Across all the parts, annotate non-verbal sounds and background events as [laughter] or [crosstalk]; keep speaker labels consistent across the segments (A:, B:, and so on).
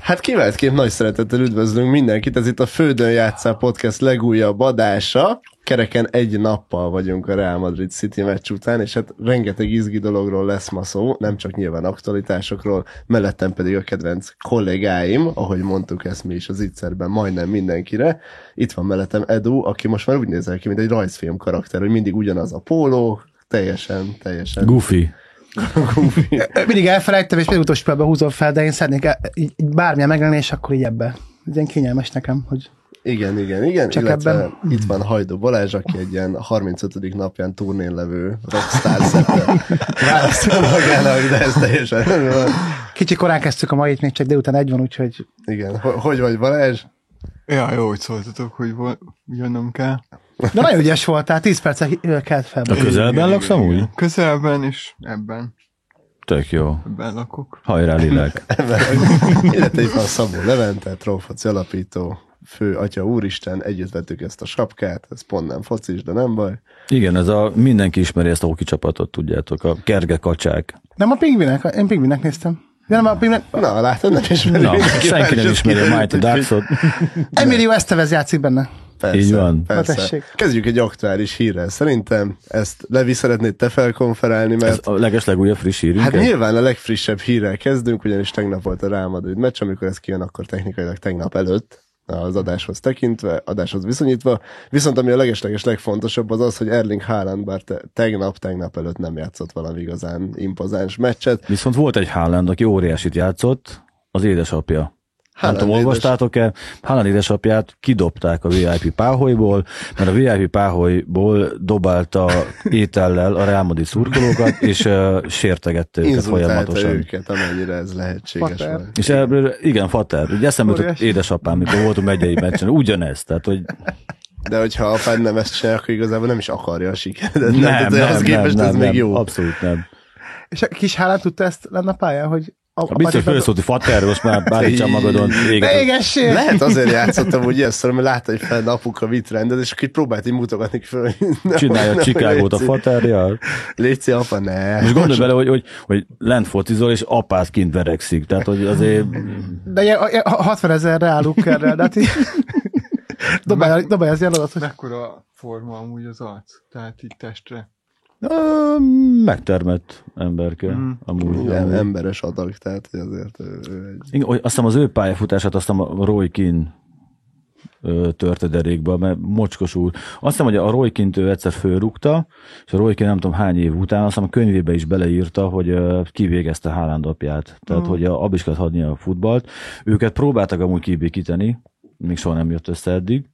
A: Hát kiváltképp nagy szeretettel üdvözlünk mindenkit, ez itt a Földön játszál podcast legújabb adása. Kereken egy nappal vagyunk a Real Madrid City meccs után, és hát rengeteg izgi dologról lesz ma szó, nem csak nyilván aktualitásokról, mellettem pedig a kedvenc kollégáim, ahogy mondtuk ezt mi is az ittszerben majdnem mindenkire. Itt van mellettem Edu, aki most már úgy nézel ki, mint egy rajzfilm karakter, hogy mindig ugyanaz a póló, teljesen, teljesen.
B: Goofy.
A: Goofy.
C: Mindig elfelejtem, és még utolsó pillanatban húzom fel, de én szeretnék el, így, így bármilyen meglenni, és akkor így ebbe. Ez ilyen kényelmes nekem, hogy
A: Igen, igen, igen. Csak
C: Csak
A: illetve ebben...
C: ebben-
A: itt van Hajdó Balázs, aki egy ilyen 35. napján turnén levő rockstar szerepel. Válaszol magának, de ez teljesen van.
C: kicsi korán kezdtük a mait, még csak délután egy van, úgyhogy
A: Igen, ho- hogy vagy Balázs?
D: Ja, jó, hogy szóltatok, hogy vol- jönnöm kell.
C: de nagyon ügyes voltál, 10 percet kelt fel.
B: A közelben
D: Igen,
B: laksz
D: igen,
B: amúgy?
D: igen. Közelben és ebben,
B: Tök jó.
D: ebben lakok.
B: Hajrá,
A: [laughs]
B: lélek.
A: Illetve itt van Szabó Levente, Trófoci alapító, fő atya úristen, együtt vettük ezt a sapkát, ez pont nem focis, de nem baj.
B: Igen, ez a, mindenki ismeri ezt a hoki csapatot, tudjátok, a kerge kacsák.
C: Nem a pingvinek, én pingvinek néztem. Ja, nem a pingvinek.
A: Na, látod, nem ismeri.
B: Na,
A: mindenki,
B: senki
A: már
B: nem
A: is
B: ismeri a
A: kiderült,
B: Mighty
A: úgyhogy-
B: Ducks-ot.
C: Emilio Estevez játszik benne.
A: Persze,
B: Így van.
A: Persze.
C: Na tessék.
A: Kezdjük egy aktuális hírrel. Szerintem ezt Levi szeretnéd te felkonferálni,
B: Ez
A: mert
B: a legeslegújabb friss hírünk.
A: Hát nyilván a legfrissebb hírrel kezdünk, ugyanis tegnap volt a Real Madrid meccs, amikor ez kijön, akkor technikailag tegnap előtt az adáshoz tekintve, adáshoz viszonyítva. Viszont ami a legesleges legfontosabb az az, hogy Erling Haaland bár te, tegnap, tegnap előtt nem játszott valami igazán impozáns meccset.
B: Viszont volt egy Haaland, aki óriásit játszott, az édesapja. Nem
A: Haaland
B: tudom,
A: édes-
B: olvastátok-e? Haaland édesapját kidobták a VIP páholyból, mert a VIP páholyból dobálta étellel a Real Madrid szurkolókat, és uh, sértegette őket
A: Inzultálta
B: folyamatosan.
A: őket, amennyire ez lehetséges
C: Fater.
A: volt.
B: És ebből, igen, Fater, ugye eszembe jutott
C: Óriási.
B: édesapám, mikor voltunk megyei meccsen, ugyanez, tehát hogy
A: De hogyha a fenn nem ezt csinál, akkor igazából nem is akarja a sikeredet.
B: nem,
A: Tehát
B: nem,
A: ehhez
B: nem, nem,
A: képest ez
B: nem,
A: még jó.
B: abszolút nem.
C: És a kis hálát tudta ezt lenne a pályán, hogy a,
B: A biztos
C: patikát-
B: felszólt, hogy Fater, most már bárítsam magadon,
C: Ne
B: éget.
C: égessél!
A: Lehet azért játszottam, hogy ilyen szor, mert látta, hogy fenn apuka mit rendez, és akkor így próbált így mutogatni föl. hogy nem,
B: Csinálja
A: nem,
B: a Csikágót a
A: Léci.
B: Faterjel.
A: Léci, apa, ne.
B: Most gondolj bele, hogy, hogy, hogy lent focizol, és apát kint verekszik. Tehát, hogy azért
A: Mm.
C: De ilyen, a- a- 60 ezer reáluk erre,
B: [laughs]
C: de hát így... Dobálj, dobálj az ilyen adat, hogy
D: Mekkora forma amúgy az arc, tehát így testre.
B: ö, megtermett emberke.
D: Mm.
B: Amúgy.
A: Igen,
B: amúgy.
A: emberes adag, tehát hogy azért ő, ő egy...
B: Igen, oly- azt hiszem az ő pályafutását azt hiszem a Roy Keane ö, törte derékba, mert mocskos úr. Azt hiszem, hogy a Roy Keane-t ő egyszer fölrúgta, és a Roy Keane nem tudom hány év után, azt hiszem a könyvébe is beleírta, hogy ö, kivégezte Haaland apját. Tehát,
A: Mm.
B: hogy a abiskat hagyni a futballt. Őket próbáltak amúgy kibékíteni, még soha nem jött össze eddig.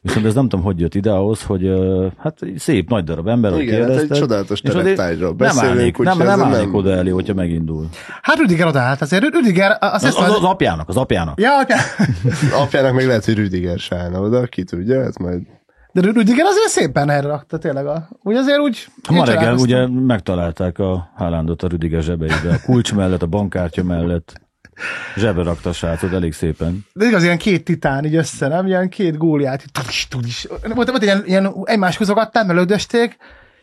B: Viszont ez nem tudom, hogy jött ide ahhoz, hogy ö, hát egy szép nagy darab ember,
A: Igen, hát egy csodálatos tereptájról
B: nem
A: beszélünk,
B: állnék, nem,
A: úgyhogy
B: nem
A: ezzel
B: állnék
A: nem-
B: oda elé, hogyha megindul.
C: Hát Rüdiger odállt azért. Rü- Rüdiger,
B: Az,
C: azt hiszem...
B: az, az apjának, az apjának.
C: Ja, oké.
A: Apjának még lehet, hogy Rüdiger se állna oda, ki tudja, ez majd...
C: de Rü- Rüdiger azért szépen erre rakta, tényleg. A, úgy azért úgy...
B: Ha ma
C: én
B: reggel
C: csodálkoztam.
B: ugye megtalálták a Hálándot a Rüdiger zsebeibe, a kulcs mellett, a bankkártya mellett. Zsebe rakta a srácot elég szépen.
C: De igaz, ilyen két titán így össze, nem? Ilyen két góliát, így tudis, tudis. Volt, volt ilyen, ilyen egymás húzogatták, melődösték,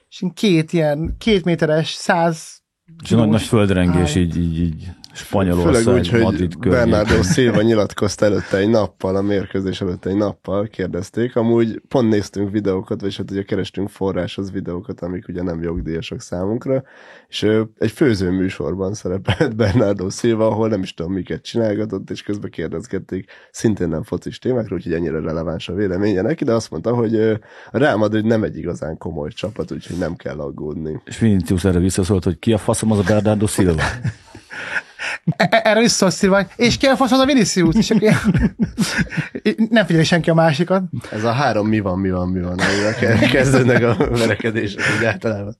C: és ilyen két ilyen két méteres, száz...
B: És nagy, nagy
C: kilós-
B: földrengés így, így, így
A: Főleg
B: Spanyolország,
A: úgy, hogy
B: Madrid környék.
A: Bernardo Silva nyilatkozta előtte egy nappal, a mérkőzés előtt egy nappal kérdezték. Amúgy pont néztünk videókat, vagyis hát ugye kerestünk forráshoz videókat, amik ugye nem jogdíjasok számunkra, és ő egy főzőműsorban szerepelt Bernardo Silva, ahol nem is tudom miket csinálgatott, és közben kérdezgették szintén nem focis témákról, úgyhogy ennyire releváns a véleménye neki, de azt mondta, hogy ö, a Real Madrid nem egy igazán komoly csapat, úgyhogy nem kell aggódni.
B: És Vinicius erre visszaszólt, hogy ki a faszom az a Bernardo Silva.
C: E- e- Erre is szólszív vagy. És ki a fasz az a Vinicius? És
B: [laughs]
C: akkor ilyen- [laughs] nem figyeli senki a másikat.
A: Ez a három mi van, mi van, mi van, amivel ke- kezdődnek a verekedések úgy általában.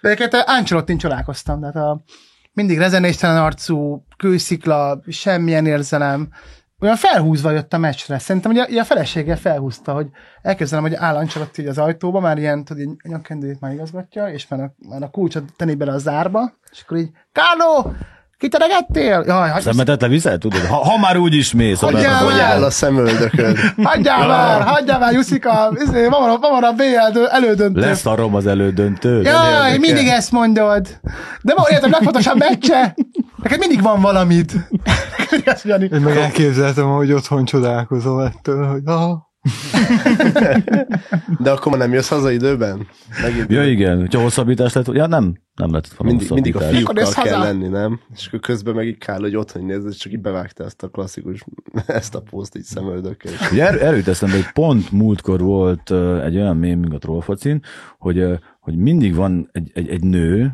C: De egyébként Ancelotti csalálkoztam, tehát a, mindig rezenéstelen arcú, kőszikla, semmilyen érzelem. Olyan felhúzva jött a meccsre. Szerintem ugye, ugye a felesége felhúzta, hogy elképzelem, hogy áll Ancelotti így az ajtóba, már ilyen, tudod, így nyakkendőjét már igazgatja, és már a, már a kulcsot tenni bele a zárba, és akkor így, Káló, kiteregettél? Jaj, hagyj,
B: Szemetet leviszel, tudod? Ha, ha már úgy is mész a
C: Hagyjál
B: Bernardo
A: Hogy
C: Hogy
A: áll
C: áll
A: a szemöldököd?
C: hagyjál már, hagyjál már, Juszika, izé, van a, van a BL dö- elődöntő.
B: Lesz a rom az elődöntő.
C: Jaj,
A: érdekel.
C: mindig ezt mondod. De ma értem, legfontosabb meccse. Neked mindig van [laughs] valamid. Neked igaz, Jani.
D: Én meg elképzeltem, hogy otthon csodálkozom ettől, hogy ah,
A: De akkor már nem jössz haza időben? Megint
B: Ja igen, hogyha hosszabbítás lett, ja nem, nem lett volna
A: mindig, mindig a
B: hosszabbítás.
C: Akkor
A: fiúkkal
C: jössz
A: kell
C: haza?
A: lenni, nem? És akkor közben meg így kár, hogy otthon nézed, csak így bevágta ezt a klasszikus, ezt a poszt így szemöldökkel.
B: Ugye erő, erőt eszembe, hogy pont múltkor volt ö, egy olyan mém, mint a trollfacin, hogy, ö, hogy mindig van egy, egy, egy nő,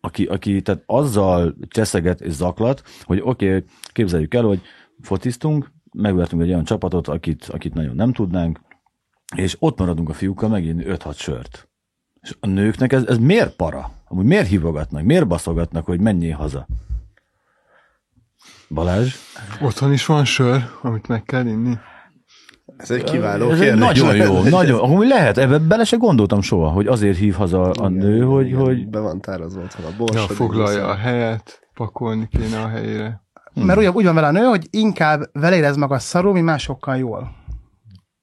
B: aki, aki tehát azzal cseszeget és zaklat, hogy oké, okay, képzeljük el, hogy fotiztunk, megvertünk egy olyan csapatot, akit, akit nagyon nem tudnánk, és ott maradunk a fiúkkal megint 5-6 sört. És a nőknek ez, ez miért para? Amúgy miért hívogatnak, miért baszogatnak, hogy menjél haza? Balázs?
D: otthon is van sör, amit meg kell inni.
A: Ez egy kiváló
B: Ez egy
A: kérdés.
B: nagyon
A: [laughs]
B: jó, nagyon, amúgy lehet, ebbe bele se gondoltam soha, hogy azért hív haza a nő, hogy, hogy
A: Be van tárazva otthon a bors.
D: Ja,
A: hogy
D: foglalja a
A: így-
D: helyet, pakolni kéne a helyére.
B: Hm.
C: Mert úgy, úgy van vele a nő, hogy inkább vele érez maga szarul, mint másokkal jól.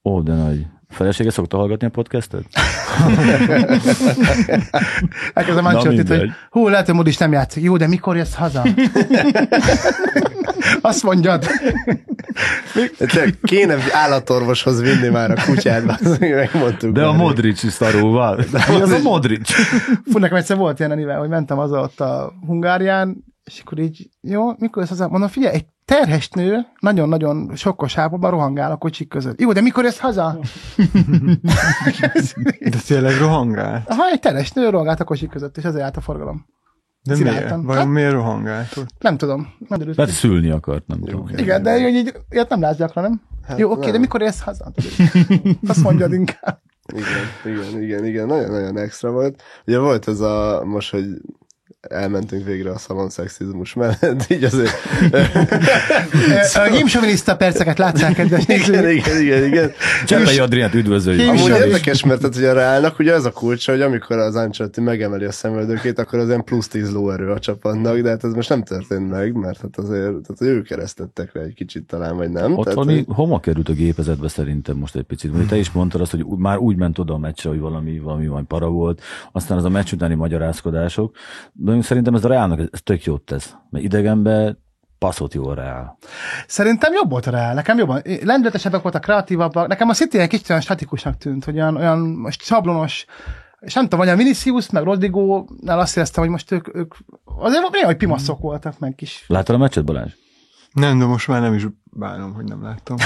B: ó, de nagy. Felesége szokta hallgatni a podcastet?
C: Elkezdem
B: Na,
C: Ancelotti,
B: mindegy.
C: hogy hú, lehet, hogy Mód is nem játszik. Jó, de mikor jössz
B: [laughs]
C: haza? Azt mondjad.
A: Tényleg, Kéne állatorvoshoz vinni már a kutyát, bazd meg, megmondtuk.
B: De a
A: már.
B: Modric is [laughs] szarúval. Mi az a Modric?
C: Fú, nekem egyszer volt ilyen anivel, hogy mentem haza ott a Hungárián, és akkor így, jó, mikor jössz haza? Mondom, figyelj, egy terhes nő nagyon-nagyon sokkos ápóban rohangál a kocsik között. Jó, de mikor jössz haza?
D: De tényleg rohangál?
C: Ha egy terhes nő rohangált a kocsik között, és azért állt a forgalom.
D: De miért?
C: Csináltam. Hát-
D: Vajon miért rohangált ott?
C: Nem tudom. Nem derült
B: Mert
C: ki.
B: szülni akart, nem tudom.
C: Igen, de hogy így, ilyet nem látsz gyakran, nem? Hát, Jó, oké,
A: nem.
C: de mikor érsz haza? Hát, Azt mondjad inkább.
A: Igen, igen, igen, igen, nagyon-nagyon extra volt. Ugye volt ez a, most, hogy elmentünk végre a szalonszexizmus mellett, így
C: [laughs]
A: azért
C: A himsoviniszta perceket látszák, kedves
A: Szóval- Igen,
C: nézők.
A: igen, igen, igen.
B: Cseppei Adriát üdvözöljük.
C: Hív-
A: Amúgy
C: Sajnos.
A: érdekes, mert tehát, hogy a Reálnak ugye az a kulcsa, hogy amikor az Ancelotti megemeli a szemöldökét, akkor az ilyen plusz 10 lóerő a csapatnak, de hát ez most nem történt meg, mert hát azért tehát hogy ők keresztettek le egy kicsit talán, vagy nem.
B: Ott
A: tehát,
B: valami
A: hogy-
B: homa került a gépezetbe szerintem most egy picit. Mondjuk te is mondtad azt, hogy ú- már úgy ment oda a meccsre, hogy valami, valami majd para volt. Aztán az a meccs utáni magyarázkodások. De én szerintem ez a Reálnak ez tök jót tesz. Mert idegenbe passzott jó a Reál.
C: Szerintem jobb volt a Real, nekem jobban. Lendületesebbek voltak, kreatívabbak. Nekem a City egy kicsit olyan statikusnak tűnt, hogy olyan, olyan most sablonos, és nem tudom, hogy a Vinicius, meg Rodrigo-nál azt éreztem, hogy most ők, ők azért néha, hogy pimaszok voltak, meg kis
B: Láttad a meccset, Balázs?
D: Nem, de most már nem is bánom, hogy nem [laughs] láttam.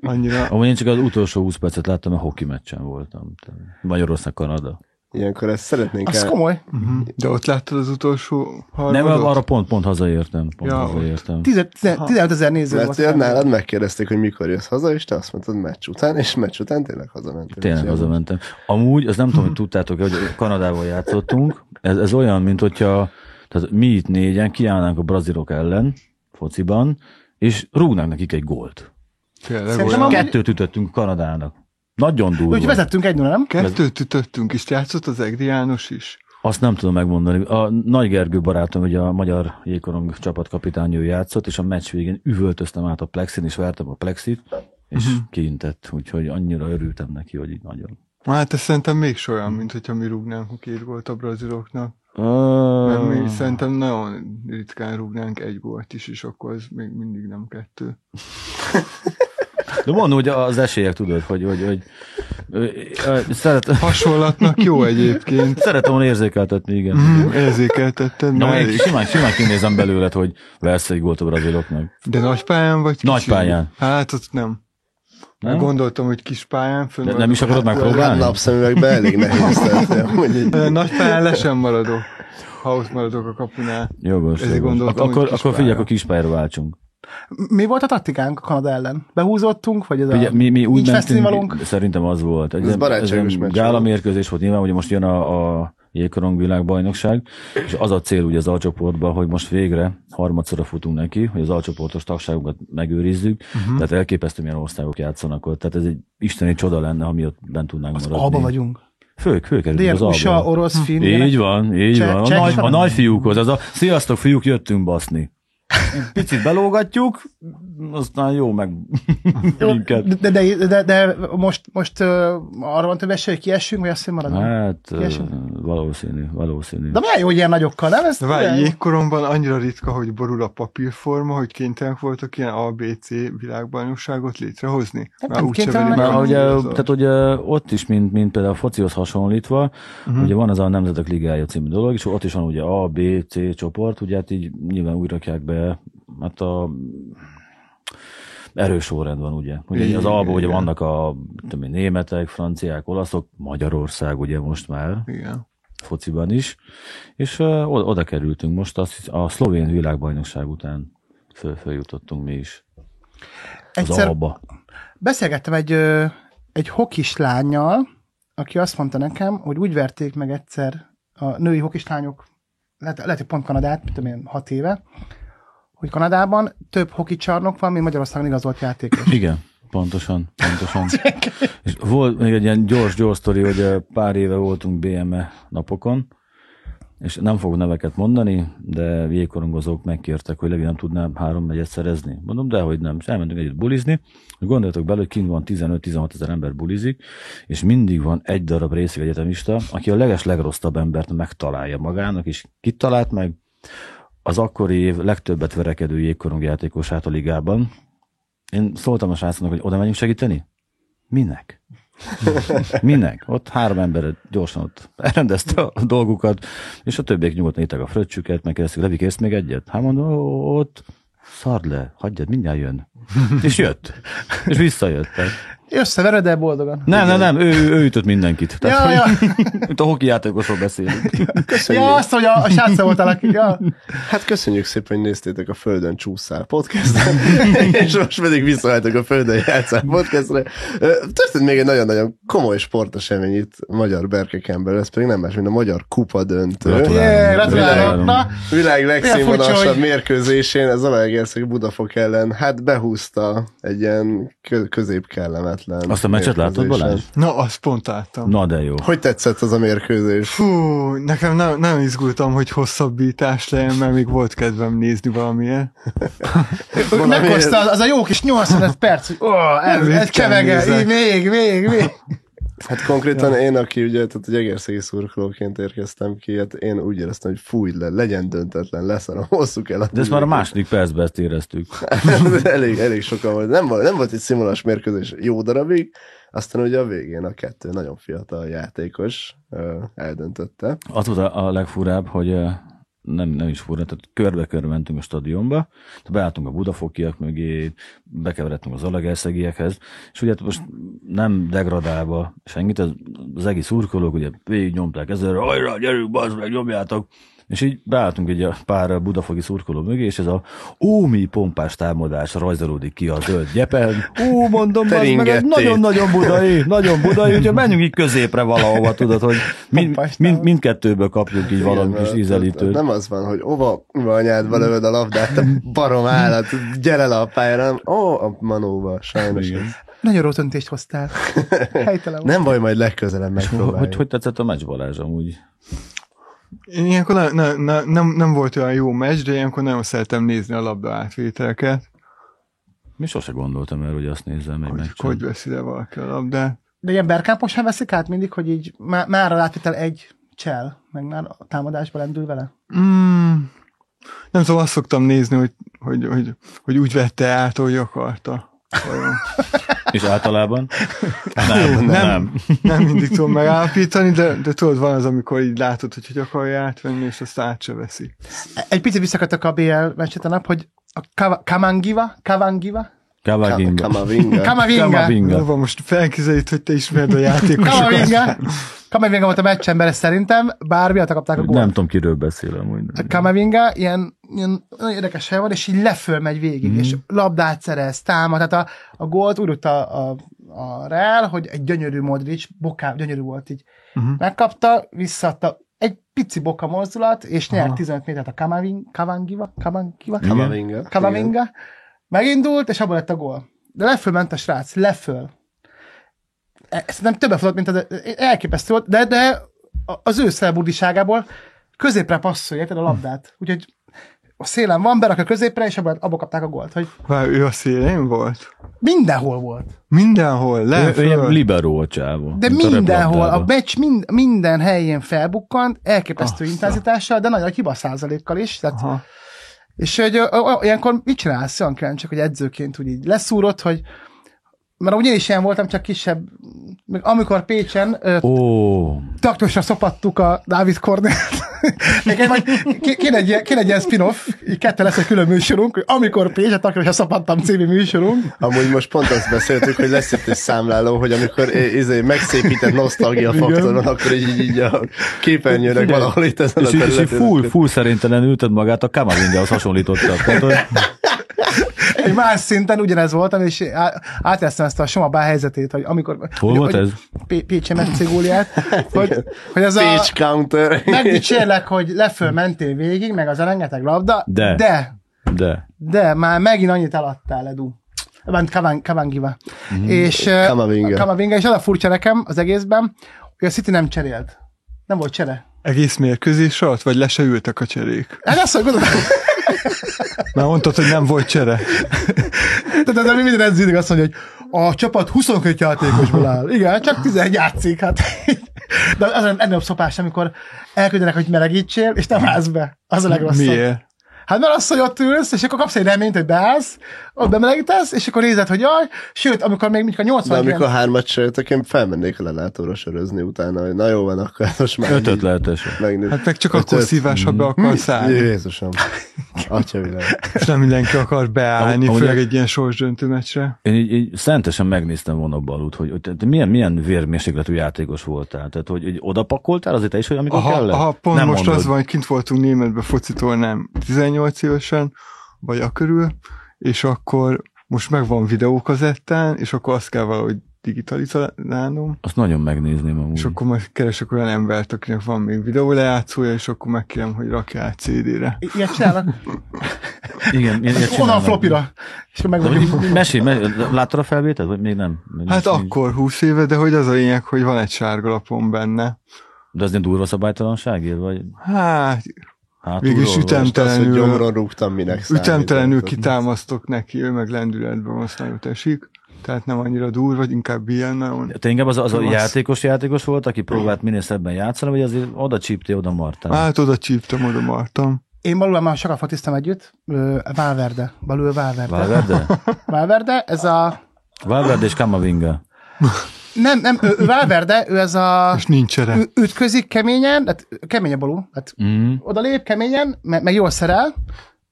D: Annyira.
B: Amúgy én csak az utolsó 20 percet láttam, a hoki meccsen voltam. Magyarország-Kanada.
A: Ilyenkor ezt szeretnénk
C: Az komoly.
D: Mhm. De ott láttad az utolsó
B: Nem,
D: harmadot?
B: arra pont, pont hazaértem. Pont
D: Ja,
B: ja,
D: ott.
B: hazaértem.
C: 10 15 ezer néző
A: Mert
C: volt.
A: ugye nálad megkérdezték, hogy mikor jössz haza, és te azt mondtad meccs után, és meccs után tényleg hazamentél.
B: Tényleg
A: Úgyhogy
B: hazamentem. Amúgy, az nem tudom, hogy tudtátok hogy Kanadával játszottunk. Ez, ez olyan, mint hogyha tehát mi itt négyen kiállnánk a brazilok ellen fociban, és rúgnánk nekik egy gólt.
D: Tényleg
C: Szerintem
D: olyan.
C: a-
B: Kettőt ütöttünk Kanadának. Nagyon durva.
C: Úgy vezettünk egy 0 nem?
D: Kettőt ütöttünk, és játszott az Egri János is.
B: Azt nem tudom megmondani. A Nagy Gergő barátom, ugye a magyar jégkorong csapatkapitány, ő játszott, és a meccs végén üvöltöztem át a plexin, és vertem a plexit, és
D: Mhm.
B: uh-huh. kiintett. Úgyhogy annyira örültem neki, hogy így nagyon.
D: Hát ez szerintem még olyan, mint hogyha mi rúgnánk a két gólt a braziloknak. Mert
B: Ah.
D: mi szerintem nagyon ritkán rúgnánk egy gólt is, és akkor ez még mindig nem kettő.
B: De mondom, hogy az esélyek, tudod, hogy, hogy, hogy ö, ö, szeret,
D: Hasonlatnak jó egyébként.
B: szeretem volna érzékeltetni, igen.
D: Mm, Érzékeltetted
B: De
D: már
B: én
D: elég.
B: simán, simán kinézem belőled, hogy versz egy gólt a braziloknak.
D: De nagy pályán vagy kicsi?
B: Nagy pályán.
D: Hát ott nem.
B: Nem?
D: nem? Gondoltam, hogy kis pályán. Fönn
B: De
D: van-
B: nem is akarod
A: Hát
B: megpróbálni?
A: napszemüvegbe elég nehéz. tehát, amúgy így-
D: De Nagy pályán le sem maradok, ha ott maradok a kapunál.
B: Jogos,
D: Ezért
B: jogos. Ak-
D: gondoltam, hogy
B: akkor, akkor
D: kis
B: figyelj,
D: pályán.
B: akkor kispályára váltsunk.
C: Mi volt a taktikánk a Kanada ellen? Behúzottunk, vagy ez a...
B: Ugye, mi, mi úgy
C: nincs
B: mentünk,
C: fesztiválunk?
B: szerintem az volt. Ez,
A: barátságos meccs
B: Gála
A: volt.
B: mérkőzés volt, nyilván ugye most jön a, a jégkorong világbajnokság, és az a cél ugye az alcsoportban, hogy most végre harmadszorra futunk neki, hogy az alcsoportos tagságunkat megőrizzük,
C: Mhm.
B: uh-huh. tehát elképesztő milyen országok játszanak ott, tehát ez egy isteni csoda lenne, ha mi ott bent tudnánk
C: Az
B: maradni.
C: alba vagyunk.
B: Fők, főkerülünk az
C: Dél, USA,
B: alba.
C: orosz, finn.
B: Így
C: ilyenek.
B: van, így
C: Cseh-
B: van. A
C: cseh-
B: nagy, a
C: van. [laughs]
B: nagy fiúkhoz, az a sziasztok fiúk, jöttünk baszni. Picit belógatjuk, aztán jó meg minket.
C: De, de, de, de most, most ö, arra van több esély, hogy kiessünk, vagy azt, hogy maradunk?
B: Hát ö,
C: Kiesünk?
B: valószínű, valószínű.
C: De milyen jó, hogy ilyen nagyokkal, nem? Ez
D: De várj,
C: milyen jó.
D: jégkoromban annyira ritka, hogy borul a papírforma, hogy kénytelenek voltak ilyen ABC világbajnokságot létrehozni.
C: Hát
D: Már
C: nem
D: úgy se veri
C: kénytelenek
D: meg
B: Mert
C: voltak.
D: a
B: ugye,
D: nyilazat.
B: tehát ugye ott is, mint, mint például a focihoz hasonlítva,
C: Mhm.
B: uh-huh. ugye van az a Nemzetek Ligája című dolog, és ott is van ugye A, B, C csoport, ugye hát így nyilván úgy rakják be, hát a erős sorrend van, ugye? ugye az A-ban ugye
D: Igen.
B: vannak a tudom én, németek, franciák, olaszok, Magyarország ugye most már
D: Igen.
B: fociban is, és ö, o- oda kerültünk most, azt, hisz- a szlovén világbajnokság után föl, följutottunk mi is. Az
C: Egyszer-
B: A-ba.
C: Beszélgettem egy, ö, egy hokis lányjal, aki azt mondta nekem, hogy úgy verték meg egyszer a női hokis lányok, lehet, lehet hogy pont Kanadát, mit tudom én, hat éve, hogy Kanadában több hoki csarnok van, mint Magyarországon igazolt játékos.
B: Igen, pontosan, pontosan. És volt még egy ilyen gyors-gyors sztori, hogy eh, pár éve voltunk BME napokon, és nem fogok neveket mondani, de jégkorongozók megkértek, hogy Levi nem tudnám három megyet szerezni. Mondom, de hogy nem. És elmentünk együtt bulizni, és gondoljatok bele, hogy kint van 15-16 ezer ember bulizik, és mindig van egy darab részeg egyetemista, aki a leges legrosszabb embert megtalálja magának, és kitalált meg az akkori év legtöbbet verekedő jégkorongjátékosát a ligában, én szóltam a srácnak, hogy oda megyünk segíteni? Minek? [laughs] Minek? Ott három ember gyorsan ott elrendezte a dolgukat, és a többiek nyugodtan itták a fröccsüket, megkérdeztük, Levi, kérsz még egyet? Hát mondom, "Ó, ott szard le, hagyjad, mindjárt [laughs] jön. És jött. És visszajött. Tehát.
C: Összevered, de boldogan.
B: Nem, nem, nem, ő, ő ütött mindenkit. Tehát,
C: Ja,
B: [laughs] Mint a hoki játékosról beszélünk.
A: Köszönjük.
C: Ja, azt, hogy a, a sátszal voltál, aki, ja.
A: Hát köszönjük szépen, hogy néztétek a Földön Csúszál
B: [laughs]
A: podcastet, és most pedig visszaálltok a Földön Játszál podcastre. Ö, Történt még egy nagyon-nagyon komoly sportesemény itt magyar berkeken belül, ez pedig nem más, mint a Magyar Kupa döntő.
B: Gratulálunk.
C: Yeah, gratulálok. Na,
A: Világ
C: Milyen furcsa,
A: legszínvonalasabb
C: hogy-
A: mérkőzésén az Zalaegerszeg Budafok ellen, hát behúzta egy ilyen kö- középkellemetlen
B: Azt a meccset láttad,
A: mérkőzésen.
B: Balázs?
D: Na, azt pont láttam.
B: Na de jó.
A: Hogy tetszett az a mérkőzés?
D: Fú, nekem nem, nem izgultam, hogy hosszabbítás legyen, mert még volt kedvem nézni valamilyen.
C: Ő meghozta az, az a jó kis 85 perc, hogy ó, ez, ez
D: Ritkán
C: kevege,
D: nézek.
C: így még, még, még.
A: Hát konkrétan én, aki ugye, tehát egy egerszegi szurkolóként érkeztem ki, hát én úgy éreztem, hogy fúj le, legyen döntetlen, leszarom, [laughs] hosszuk el.
B: De ezt már a második percben ezt éreztük.
A: [laughs] elég, elég sokan volt. Nem, volt. nem volt egy színvonalas mérkőzés jó darabig, aztán ugye a végén a kettő nagyon fiatal játékos ö, eldöntötte.
B: Az volt a a legfurább, hogy eh, nem, nem is fura, tehát körbe-körbe mentünk a stadionba, tehát beálltunk a budafokiak mögé, bekeveredtünk az alagerszegiekhez, és ugye hát most nem degradálva senkit, az, az egész szurkolók ugye végig nyomták ezzel, hajrá, gyerünk, bazd meg, nyomjátok, és így beálltunk egy pár budafoki szurkoló mögé, és ez a ómi pompás támadás rajzolódik ki a zöld gyepen. Ó, mondom, bazd meg, ez
A: Teringettét.
B: nagyon-nagyon budai, nagyon
A: [laughs]
B: budai, úgyhogy menjünk így középre valahova, tudod, hogy mind,
C: Pompás
B: mind,
C: támadás.
B: mindkettőből kapjuk így valami
A: Igen,
B: kis Mm.
A: mert
B: ízelítőt.
A: Nem az van, hogy ova ova anyádba lövöd a labdát, te barom állat, gyere le a pályára, hanem, ó, a manóba, sajnos. ez.
C: Nagyon rossz döntést hoztál. Helytelen volt.
A: Nem baj, majd legközelebb megpróbáljuk.
B: Hogy, hogy tetszett a meccs Balázs amúgy?
D: Én ilyenkor ne, ne, ne, nem, nem volt olyan jó meccs, de ilyenkor nagyon szeretem nézni a labda átvételeket.
B: Mi sose gondoltam el, hogy azt nézzem egy
D: Hogy,
B: meccsen.
D: hogy veszi le valaki a labdát.
C: De ilyen berkáposán veszik át mindig, hogy így má, már a látvitel egy csel, meg már a támadásba lendül vele.
D: Mm. Nem tudom, azt szoktam nézni, hogy, hogy, hogy, hogy úgy vette át, ahogy akarta. Vajon.
B: És
A: [laughs]
B: általában?
D: Nem,
B: [laughs] nem.
D: nem mindig tudom megállapítani, de, de tudod, van az, amikor így látod, hogy hogy akarja átvenni, és azt át se veszi.
C: Egy picit visszakötök a BL meccset a nap, hogy a Kava- Kamangiva, Kavangiva,
A: Ka-
B: Kaváginga.
A: Kamavinga.
C: Kamavinga,
D: Na,
B: Kamavinga.
D: van most felkizelít, hogy te ismered a
C: [laughs]
D: játékosokat.
C: Kamavinga, Kamavinga volt a meccsember szerintem, bár miatt kapták a gólt.
B: Nem tudom, kiről beszélem. Úgy.
C: A Kamavinga ilyen, ilyen nagyon érdekes hely van, és így leföl megy végig, mm. és labdát szerez, támad, tehát a, a gólt úgy rúgta a, a Real, hogy egy gyönyörű Modric, boká, gyönyörű volt így, uh-huh. megkapta, visszaadta, egy pici boka mozdulat, és nyert 15 métert a Kamavin, Kavangiva, Kavangiva,
A: Kamavinga.
C: Kamavinga, megindult, és abban lett a gól. De leföl ment a srác, leföl. E- Szerintem többe futott, mint az elképesztő volt, de, de az ő szelbudiságából középre passzolja érted, a labdát. Úgyhogy a szélen van, berak a középre, és abba, abba kapták a gólt, hogy
D: Vár, ő a szélén volt?
C: mindenhol volt.
D: Mindenhol, le,
B: Ő, ő ilyen
D: föl.
B: liberó a csávó.
C: De
B: mint a
C: mindenhol, a
B: röplabdában.
C: meccs mind, minden helyén felbukkant, elképesztő
B: Ah,
C: intenzitással, de nagy nagy hiba százalékkal is. Tehát,
D: Aha.
C: és hogy ö, ö, ilyenkor mit csinálsz? Olyan kíváncsi, hogy edzőként úgy így leszúrod, hogy mert ugye én is ilyen voltam, csak kisebb. Még Amikor Pécsen ö,
B: Ó,
C: taktusra szopattuk a Dávid Kornélt.
B: [laughs]
C: Nekem majd ké- kéne egy, ilyen- kéne egy ilyen spin-off, így kettő lesz egy külön műsorunk, hogy amikor Pécsen taktusra szopattam című műsorunk.
A: Amúgy most pont azt beszéltük, hogy lesz itt egy számláló, hogy amikor é- izé, megszépített nosztalgia
C: Igen.
A: faktoron, akkor így, így a képernyőnek
B: Figyelj,
A: valahol itt ezen a
B: és, így- és így
A: területen.
B: full, full szerintelenül ülted magát, a Kamavingyához hasonlítottak. Tehát, hogy
C: Egy más szinten ugyanez voltam, és á- átjeleztem ezt a Soma Bá helyzetét, hogy amikor...
B: Hol
C: hogy-
B: volt
C: hogy
B: ez?
C: P- Pécsen
B: [laughs]
C: megcégúliát. hogy, hogy ez a...
A: Pécs counter.
C: Megdicsérlek, hogy leföl mentél végig, meg az a rengeteg labda,
B: De.
C: de
B: de.
C: De már megint annyit eladtál, Edu. Ment Kavan- Kavangiva.
B: Mhm.
C: Mm. És ö,
A: Kamavinga.
C: Kamavinga, és az a furcsa nekem az egészben, hogy a City nem cserélt. Nem volt csere.
D: Egész mérkőzés alatt, vagy le se ültek a cserék?
C: Hát azt mondom,
D: Már mondtad, hogy nem volt csere.
C: tehát ez minden ez mindig azt mondja, hogy a csapat 22 játékosból áll. Igen, csak 11 játszik. Hát. De az a legnagyobb szopás, amikor elküldenek, hogy melegítsél, és nem állsz be. Az a legrosszabb.
D: Miért?
C: Hát mert az, hogy ott ülsz, és akkor kapsz egy reményt, hogy beállsz, ott bemelegítesz, és akkor nézed, hogy jaj, sőt, amikor még mondjuk a
A: De
C: 80
A: amikor hármat sörtök, én felmennék a lelátóra sörözni utána, hogy na jó van, akkor hát most már
B: Ötöt
A: így
B: lehetőség.
A: megnéz-
D: Hát meg csak akkor
A: Ötöt. Hm?
D: szívás, ha be akarsz
B: Mhm.
D: állni.
A: Jézusom. Atya világ.
D: És nem mindenki akar beállni,
B: Ahogy-
D: főleg egy ilyen sorsdöntő meccsre.
B: Én így, így szentesen megnéztem volna Balut, hogy, hogy te milyen, milyen vérmérsékletű játékos voltál. Tehát, hogy, hogy odapakoltál azért te is, hogy amikor
D: Aha,
B: kellett?
D: aha pont nem most
B: mondod.
D: az van, hogy kint voltunk németbe focitornám 18 évesen, vagy a körül, és akkor most megvan videókazettán, és akkor azt kell valahogy digitalizálnom,
B: Azt nagyon megnézném amúgy.
D: és akkor majd keresek olyan embert, akinek van még videólejátszója, és akkor megkérem, hogy rakja át CD-re.
C: I- Ilyet csinálnak.
B: Igen, én, én
C: Onnan a flopira. És akkor megmondjuk.
B: Mesélj, mesélj, láttad a felvételt, vagy még nem? Még
D: Hát
B: nincs-
D: akkor 20 éve, de hogy az a lényeg, hogy van egy sárga lapom benne.
B: De az ilyen durva szabálytalanságért, vagy
D: Hát,
B: hátulról?
D: mégis
B: vagy-
D: ütem-
A: Most az, hogy
D: Ütemtelenül-
A: gyomron rúgtam, minek számít.
D: ütemtelenül kitámasztok neki, ő meg lendületben most nagyot esik, tehát nem annyira durva, inkább ilyen nagyon.
B: Te inkább az, az a
D: Az-
B: játékos játékos volt, aki próbált minél szebben játszani, vagy azért oda csíptél, oda martál?
D: Hát oda csíptem, oda martam.
C: Én valóban már sokat fotiztam együtt. Ö, Valverde. Balul Valverde.
B: Valverde?
D: [laughs]
C: Valverde, ez a...
B: Valverde és Kamavinga.
C: Nem, nem, ő, ő Valverde, ő ez a...
D: És nincs erre.
C: Ő ütközik keményen, tehát kemény a balul, tehát
B: Mm.
C: oda lép keményen, meg, meg jól szerel,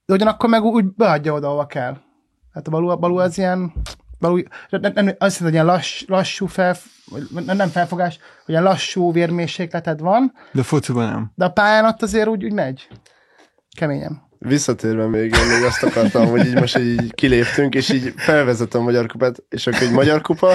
C: de ugyanakkor meg úgy beadja oda, ahova kell. Hát a balú, a balú az ilyen, balú, nem, nem, azt hiszem, hogy ilyen lass, lassú fel, vagy nem, nem felfogás, hogy ilyen lassú vérmérsékleted van,
D: De fociban nem.
C: de a pályán ott azért úgy, úgy megy. Keményen.
A: Visszatérve még, én még azt akartam, hogy így most így kiléptünk, és így felvezetem a Magyar Kupát, és akkor egy Magyar Kupa,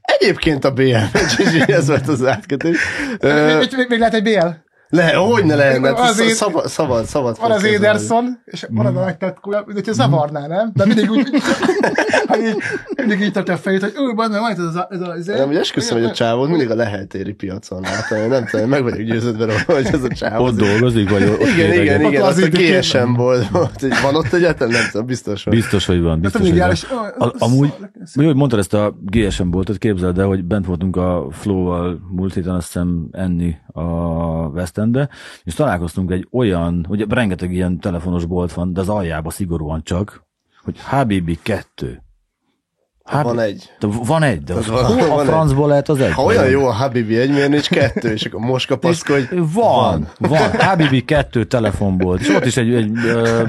A: egyébként a BL meccs, és így ez volt az átkötés.
C: Ö...
A: Ö,
C: Még, még, még lehet egy BL?
A: le, hogy ne lenne, hát
C: Az
A: szab-
C: én-
A: szabad, szabad, szabad.
C: Van az
A: podcast lenni.
C: Ederson, és van az a nagy tetkója, mint hogyha zavarná, nem? De mindig úgy, [laughs] hogy így, mindig így tartja a fejét, hogy ő, bazd meg, van itt ez a... Ez a ez a
A: Nem, hogy esküszöm, hogy a csávót mindig a leheltéri piacon látom. Én nem tudom, meg vagyok győződve róla, hogy ez a csávó.
B: Ott dolgozik, vagy ott
A: Igen,
B: éreget?
A: igen, igen,
C: Ott
A: azt a
C: lazít, igen.
A: késen volt. ott. Van ott egyetem? Nem tudom, biztos van.
B: Biztos, hogy van, biztos,
C: tudom,
B: hogy
C: így
B: van.
C: jár, és-
B: A, amúgy, jó, hogy mondtad ezt a GSM boltot, képzeld el, hogy bent voltunk a Flow-val múlt héten azt hiszem enni a West Endbe, és találkoztunk egy olyan, ugye rengeteg ilyen telefonos bolt van, de az aljában szigorúan csak, hogy HBB 2. HB...
A: Van egy.
B: De van egy, de az
A: van-
B: hol
A: van
B: a
A: egy.
B: francból lehet az egy?
A: Ha olyan jó a Habibi egy, miért nincs kettő, és akkor most kapaszkodj.
B: Van, van. HBB kettő telefonból. És ott is egy, egy ö,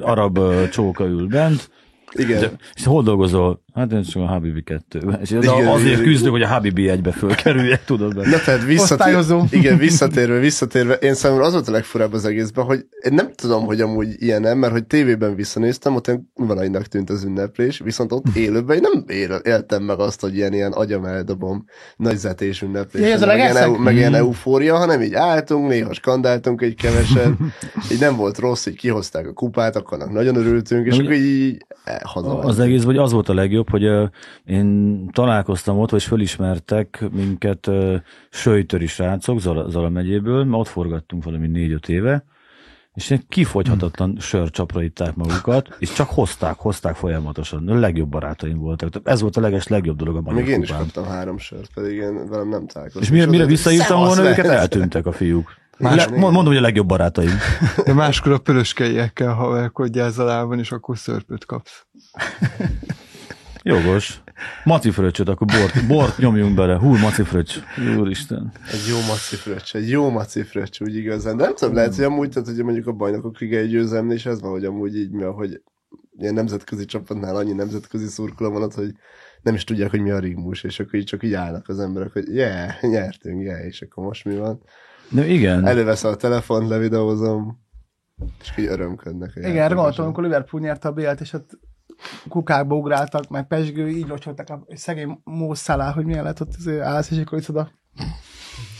B: arab ö, csóka ül bent. De,
A: Igen.
B: és hol dolgozol? Hát én csak a HBB 2 És az,
A: Igen,
B: azért
A: igen.
B: küzdök, hogy a HBB 1-be fölkerüljek, tudod be.
A: Na tehát visszatér...
C: Osztályozó.
A: Igen, visszatérve, visszatérve. Én számomra az volt a legfurább az egészben, hogy én nem tudom, hogy amúgy ilyen nem, mert hogy tévében visszanéztem, ott ilyen valainak tűnt az ünneplés, viszont ott élőben én nem ér- éltem meg azt, hogy ilyen, ilyen agyam eldobom nagyzetés ünneplés.
C: Jaj, ez a
A: meg, ilyen,
C: legelszeg?
A: eu- meg ilyen eufória, hanem így álltunk, néha skandáltunk egy keveset, így nem volt rossz, így kihozták a kupát, akkor annak nagyon örültünk, és
B: Ugye-
A: akkor így, így eh, haza.
B: Az egész, vagy az volt a legjobb, hogy ö, én találkoztam ott, vagy fölismertek minket ö, söjtöri srácok Zala, Zala megyéből, mert ott forgattunk valami négy-öt éve, és ilyen kifogyhatatlan
A: Hm.
B: hmm. sörcsapra itták magukat, és csak hozták, hozták folyamatosan. A legjobb barátaim voltak. Tehát Ez volt a leges legjobb dolog a magyar
A: Még én is
B: kupán.
A: kaptam három sört, pedig én velem nem találkoztam.
B: És mire,
A: oda
B: mire
A: jöttem,
B: visszaírtam
A: "Szevasz,
B: volna
A: le!"
B: őket, eltűntek a fiúk. Le,
D: Más-
B: mond- mondom, hogy a legjobb barátaim.
D: De máskor a pöröskeiekkel haverkodj általában, és akkor szörpöt kapsz.
B: Jogos. Maci fröccsöt, akkor bort, bort nyomjunk bele. Hú, maci fröccs. Úristen.
A: Egy jó maci fröccs, egy jó maci fröccs, úgy igazán. De nem tudom, lehet, hogy amúgy, tehát hogy mondjuk a bajnokok ligai győzelmnél is ez van, hogy amúgy így, mivel hogy ilyen nemzetközi csapatnál annyi nemzetközi szurkoló van ott, hogy nem is tudják, hogy mi a rigmus, és akkor így csak így állnak az emberek, hogy yeah, nyertünk, yeah, és akkor most mi van.
B: De igen.
A: Előveszem a telefont, levideózom, és így örömködnek. a
C: Igen, erre
A: játékosok.
C: gondoltam, amikor Liverpool nyerte a BL-t, és ott kukákba ugráltak, meg pesgő, így locsoltak a szegény mószálá, hogy milyen lett ott az állsz, és akkor itt oda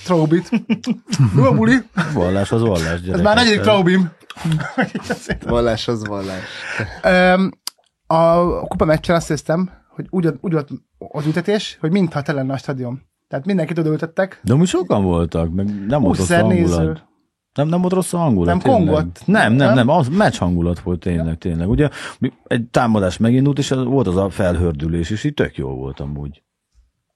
C: Traubit. Jó, buli?
B: Vallás az vallás, gyerekek.
C: Ez már negyedik
B: Tehát-
C: Traubim.
A: Vallás az vallás.
C: Öm, a kupa meccsen azt hiszem, hogy úgy, úgy volt az ütetés, hogy mintha te lenne a stadion. Tehát mindenkit odaültettek.
B: De amúgy sokan voltak, meg nem volt rossz a
C: 20 néző.
B: hangulat. Nem, nem volt rossz a hangulat.
C: Nem
B: tényleg.
C: kongott?
B: Nem, nem,
C: Nem?
B: nem, az meccs hangulat volt tényleg, tényleg. Ugye mi- egy támadás megindult, és az- volt az a felhördülés, és így tök jó volt amúgy.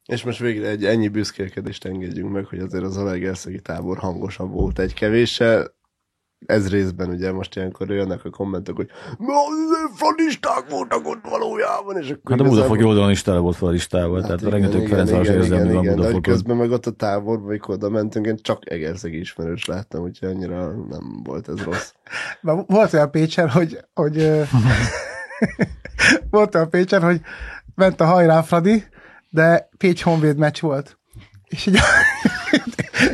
B: Hát
A: És most végre egy ennyi büszkélkedést engedjünk meg, hogy azért az Alegerszegi tábor hangosabb volt egy kevéssel. Ez részben ugye most ilyenkor jönnek a kommentek, hogy na, azért franisták voltak ott valójában, és akkor
B: Hát a Budafoki oldalon is tele volt fel a listával, tehát
A: Hát igen,
B: rengeteg
A: igen,
B: Ferencváros
A: igen,
B: érzelmi
A: igen,
B: van
A: igen, de hogy
B: Budafokon.
A: közben meg ott a táborba, amikor oda mentünk, én csak egerszegi ismerős láttam, úgyhogy annyira nem volt ez rossz.
C: Már volt olyan Pécsen, hogy, hogy ö, [laughs] volt olyan Pécsen, hogy ment a hajrá Fradi, de Pécs Honvéd meccs volt. És így [laughs]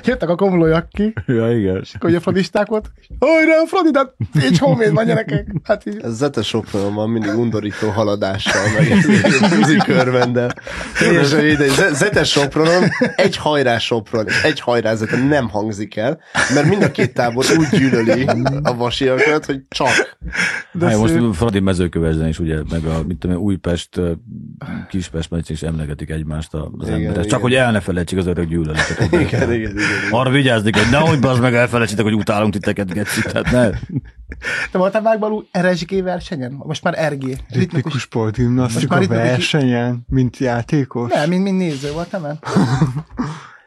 C: jöttek a komlójak ki,
B: [laughs] Ja, igen.
C: akkor ugye fradisták volt, és hajrá Fradi, de Pécs Honvéd van gyerekek. Hát így,
A: Ez Zete Sopronon van mindig undorító haladással, meg egy körvendel. Teljesen mindegy. Ze- Zete Sopronon egy hajrá Sopron, és egy hajrá Zete nem hangzik el, mert mind a két tábor úgy gyűlöli a vasiakat, hogy csak.
C: de
B: Hát,
C: szép.
B: most Fradi mezőkövezen is, ugye, meg a mit tudom, én, Újpest, ö, Kispest meccs is emlegetik egymást a- az
A: Igen,
B: emberek. Csak
A: igen.
B: hogy el ne felejtsük az örök gyűlöletet. ugye.
A: Igen, igen, igen.
B: Arra vigyázni, kell, hogy nehogy bazd meg elfelejtsétek, hogy utálunk titeket, geci. Tehát ne.
C: Te voltál Vágbalú RSG versenyen? Most már RG.
D: Ritmikus
C: Ritmikus. Most már
D: sportgimnasztika
C: ritmikus-
D: versenyen, mint játékos,
C: Nem, mint, mint néző voltam el.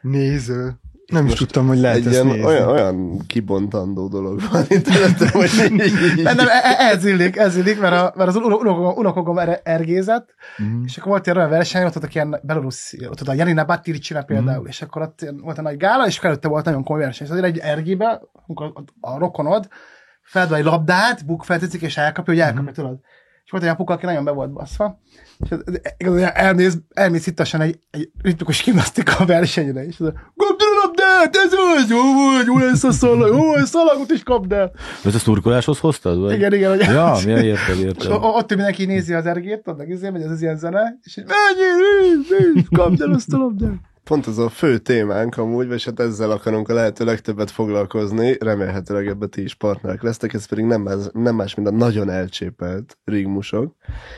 D: néző. Nem is tudtam, hogy lehet
A: Egy
D: ezt
A: ilyen,
D: nézni.
A: olyan, olyan kibontandó dolog van itt előttem, hogy így- így-
C: Nem, nem, e- e- ez illik, ez illik, mert, a, mert az uno- unokogom, unokogom er- ergézett, mm. és akkor volt ilyen olyan verseny, ott voltak ilyen belorusz, ott a Janina Batircsina például, mm. és akkor ott ilyen volt a nagy gála, és akkor előtte volt nagyon komoly verseny. És azért egy ergébe, amikor ott a rokonod feladva egy labdát, bukfeltetik, és elkapja, hogy elkapja, mm. tudod. És volt egy apuka, aki nagyon be volt baszva, és az- igazán elmész, elmész ittasan egy, egy ritmikus gimnasztika versenyre, és az a kapd el a labdát, hát ez vagy, jó vagy, jó lesz a szalag, jó, a szalagot is kapd el.
B: Ezt a szurkoláshoz hoztad? Vagy?
C: Igen, igen, hogy
B: Ja, ja, érted,
C: És
B: érted.
C: o- o- ott mindenki nézi az ergét, ott meg izé, megy az az ilyen zene, és így mennyi, kapd el azt a labdát.
A: Pont ez a fő témánk amúgy, és hát ezzel akarunk a lehető legtöbbet foglalkozni, remélhetőleg ebben ti is partnerek lesztek, ez pedig nem más, nem más mint a nagyon elcsépelt rigmusok,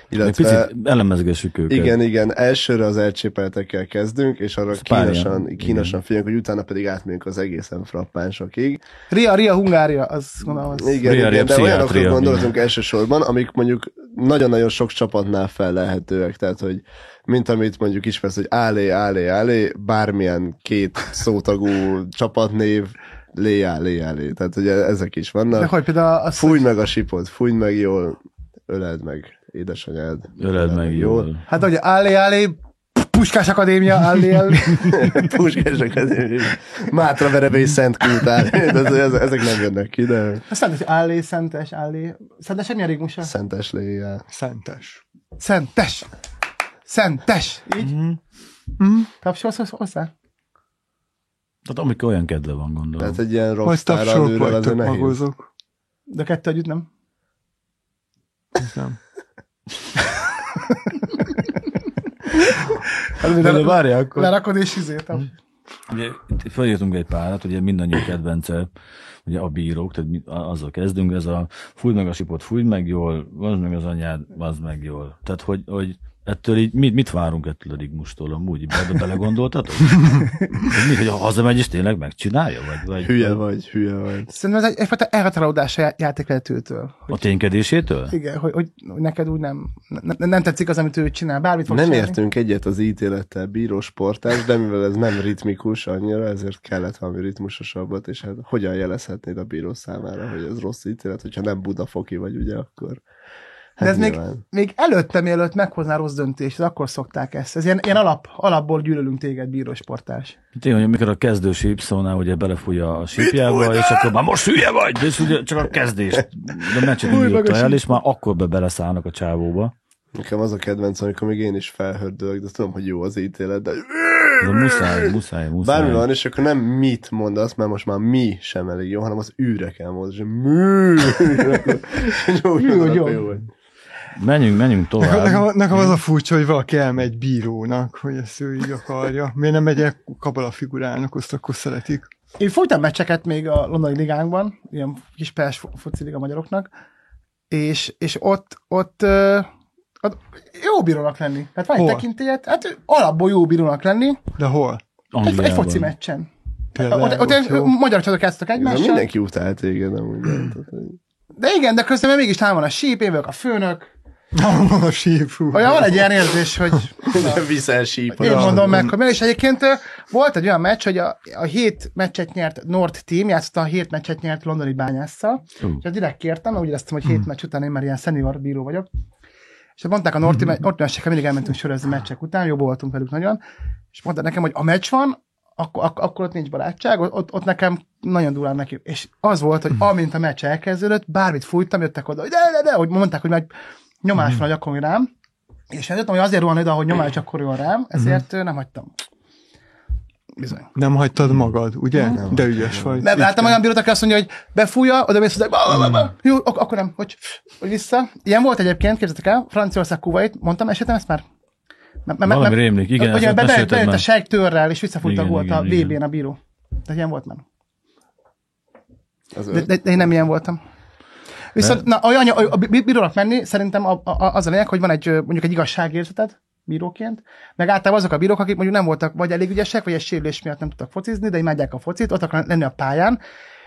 B: Egy
A: illetve...
B: picit elemezgessük őket.
A: Igen, igen, elsőre az elcsépeltekkel kezdünk, és arra
B: Spánia.
A: kínosan,
B: Igen.
A: kínosan figyelünk, hogy utána pedig átmegyünk az egészen frappánsokig.
C: Ria, Ria, Hungária, az gondolom az.
A: Igen,
B: Ria, hát ria,
A: igen de
B: pszichiátria,
A: olyanokra
B: igen.
A: gondoltunk elsősorban, amik mondjuk nagyon-nagyon sok csapatnál felelhetőek, tehát hogy mint amit mondjuk ismersz, hogy álé, álé, álé, bármilyen két szótagú csapatnév, lé, álé, álé. Tehát ugye ezek is
C: De
A: vannak.
C: hogy például az,
A: Fújj meg a sipot, fújj meg jól, öleld meg édesanyád.
B: Öleld
A: [laughs]
B: meg jól.
C: hát ugye Állé, Állé, Puskás Akadémia, Állé,
A: [laughs]
C: Állé.
A: Puskások azért. Mátra verebély szent kultár.
B: [laughs]
A: Ez, ez, ezek nem jönnek ki, de
C: Azt nem, hogy Állé, Szentes, Állé. Szentes, mi a rigmusa?
A: szentes léjjel.
D: Szentes.
C: Szentes. Szentes. Így?
A: Mhm.
C: Mm. Tapsolsz hozzá- hozzá?
B: Tehát amikor olyan kedve van, gondolom.
A: Tehát egy ilyen
D: Majd
A: rockstar
D: tapsolok,
A: nőről
D: vagy
A: azért
D: tök
A: nehéz.
D: magozok.
C: De kettő együtt nem.
D: Ez Nem.
C: Hát,
B: De, de
C: le-
B: várjál, akkor...
C: Lerakod és izé,
A: Mhm.
C: tap-
B: Ugye, itt felírtunk egy párat, ugye mindannyiunk kedvence, ugye a bírók, tehát mi, a- azzal kezdünk, ez a fújd meg a sipot, fújd meg jól, vazd meg az anyád, vazd meg jól. Tehát, hogy, hogy ettől így, mit, mit várunk ettől a Rigmustól amúgy? Be, belegondoltatok? Hogy mi, hogy ha hazamegy és tényleg megcsinálja? Vagy, vagy
A: Hülye vagy, hülye vagy.
C: Szerintem ez egy, egyfajta elhatárolódás a já- játékvezetőtől.
B: A ténykedésétől?
C: Igen, hogy, hogy neked úgy nem, ne, nem tetszik az, amit ő csinál, bármit fog
A: Nem
C: csinálni.
A: értünk egyet az ítélettel bíró sportás, de mivel ez nem ritmikus annyira, ezért kellett valami ritmusosabbat, és hát hogyan jelezhetnéd a bíró számára, hogy ez rossz ítélet, hogyha nem budafoki vagy, ugye, akkor... Hát
C: De ez még,
A: nyilván.
C: még előtte, mielőtt meghozná rossz döntést, akkor szokták ezt. Ez ilyen, ilyen alap, alapból gyűlölünk téged, bírósportás.
B: Tényleg, amikor a kezdős Y-nál ugye belefújja a sípjába, és akkor már most hülye vagy, de és ugye csak a kezdést, de meccset
C: Fúj meg
B: indította
C: a
B: el, és már akkor be beleszállnak a csávóba.
A: Nekem az a kedvenc, amikor még én is felhördülök, de tudom, hogy jó az ítélet, de...
B: De muszáj, muszáj, muszáj.
A: Bármi van, és akkor nem mit mondasz, mert most már mi sem elég jó, hanem az űre kell mondani, és
C: [laughs]
A: mű, [laughs] jó,
C: Jó,
A: jó,
C: jó.
A: jó, vagy.
B: Menjünk, menjünk
D: Nekem,
B: tovább.
D: nekem az a furcsa, hogy valaki elmegy bírónak, hogy ezt ő így akarja. Miért nem megy el kabala figurának, azt akkor szeretik.
C: Én folytam meccseket még a londoni ligánkban, ilyen kis PS fo- foci liga magyaroknak, és, és ott, ott, ö, ott jó bírónak lenni. Tehát van egy
D: Hol?
C: tekintélyet, hát ő alapból jó bírónak lenni,
D: De hol?
C: egy, egy foci
B: Angliában.
C: meccsen.
D: Például,
C: Ott, ott,
D: jó.
C: ott magyar csatok játszottak
A: Ez
C: egymással,
A: mindenki utál téged, nem úgy
C: de igen, de közben mégis tám van a síp, én vagyok a főnök.
D: a sífú.
C: Olyan van egy ilyen érzés, hogy
A: Nem viszel sípot.
C: Én mondom meg, hogy miért, és egyébként ö, volt egy olyan meccs, hogy a, a hét meccset nyert North Team, játszotta a hét meccset nyert londoni bányásszal,
B: Ú.
C: és azt direkt kértem, mert úgy éreztem, hogy hét meccs után én már ilyen senior bíró vagyok, és mondták a North Team, North Team mindig elmentünk sörözni meccsek után, jobb voltunk velük nagyon, és mondták nekem, hogy a meccs van, akkor, ak- akkor ott nincs barátság, ott- ott, ott nekem nagyon durán neki. És az volt, hogy amint a meccs elkezdődött, bármit fújtam, jöttek oda, hogy de, de, de, hogy mondták, hogy meg nyomás van a gyakon rám, és én tudtam, hogy azért van oda, hogy nyomás gyakoroljon
B: Mhm.
C: rám, ezért ö, nem hagytam. Bizony.
D: Nem hagytad magad, ugye? Nem. De ügyes vagy.
C: Nem, láttam olyan bírót, aki azt mondja, hogy befújja, oda mész, hogy
B: Mhm.
C: jó, ak- akkor nem, hogy, hogy vissza. Ilyen volt egyébként, képzeljétek el, Franciaország Kuwait, mondtam, esetem ezt már? Mert- mert-
B: Valami
C: mert-
B: rémlik, igen,
C: Hogy
B: ezt
C: be,
B: mesélted
C: bejött, bejött
B: már.
C: a sejtőrrel, és visszafújta a
B: Igen,
C: gólt a
B: igen, igen.
C: VB-n a bíró. De ilyen volt már.
A: Az
C: De, de, de én nem ilyen voltam. Viszont na, olyan, a, a bí- bírónak menni, szerintem a, a, az a lényeg, hogy van egy ö, mondjuk egy igazságérzeted bíróként, meg általában azok a bírók, akik mondjuk nem voltak vagy elég ügyesek, vagy egy sérülés miatt nem tudtak focizni, de imádják a focit, ott akarnak lenni a pályán.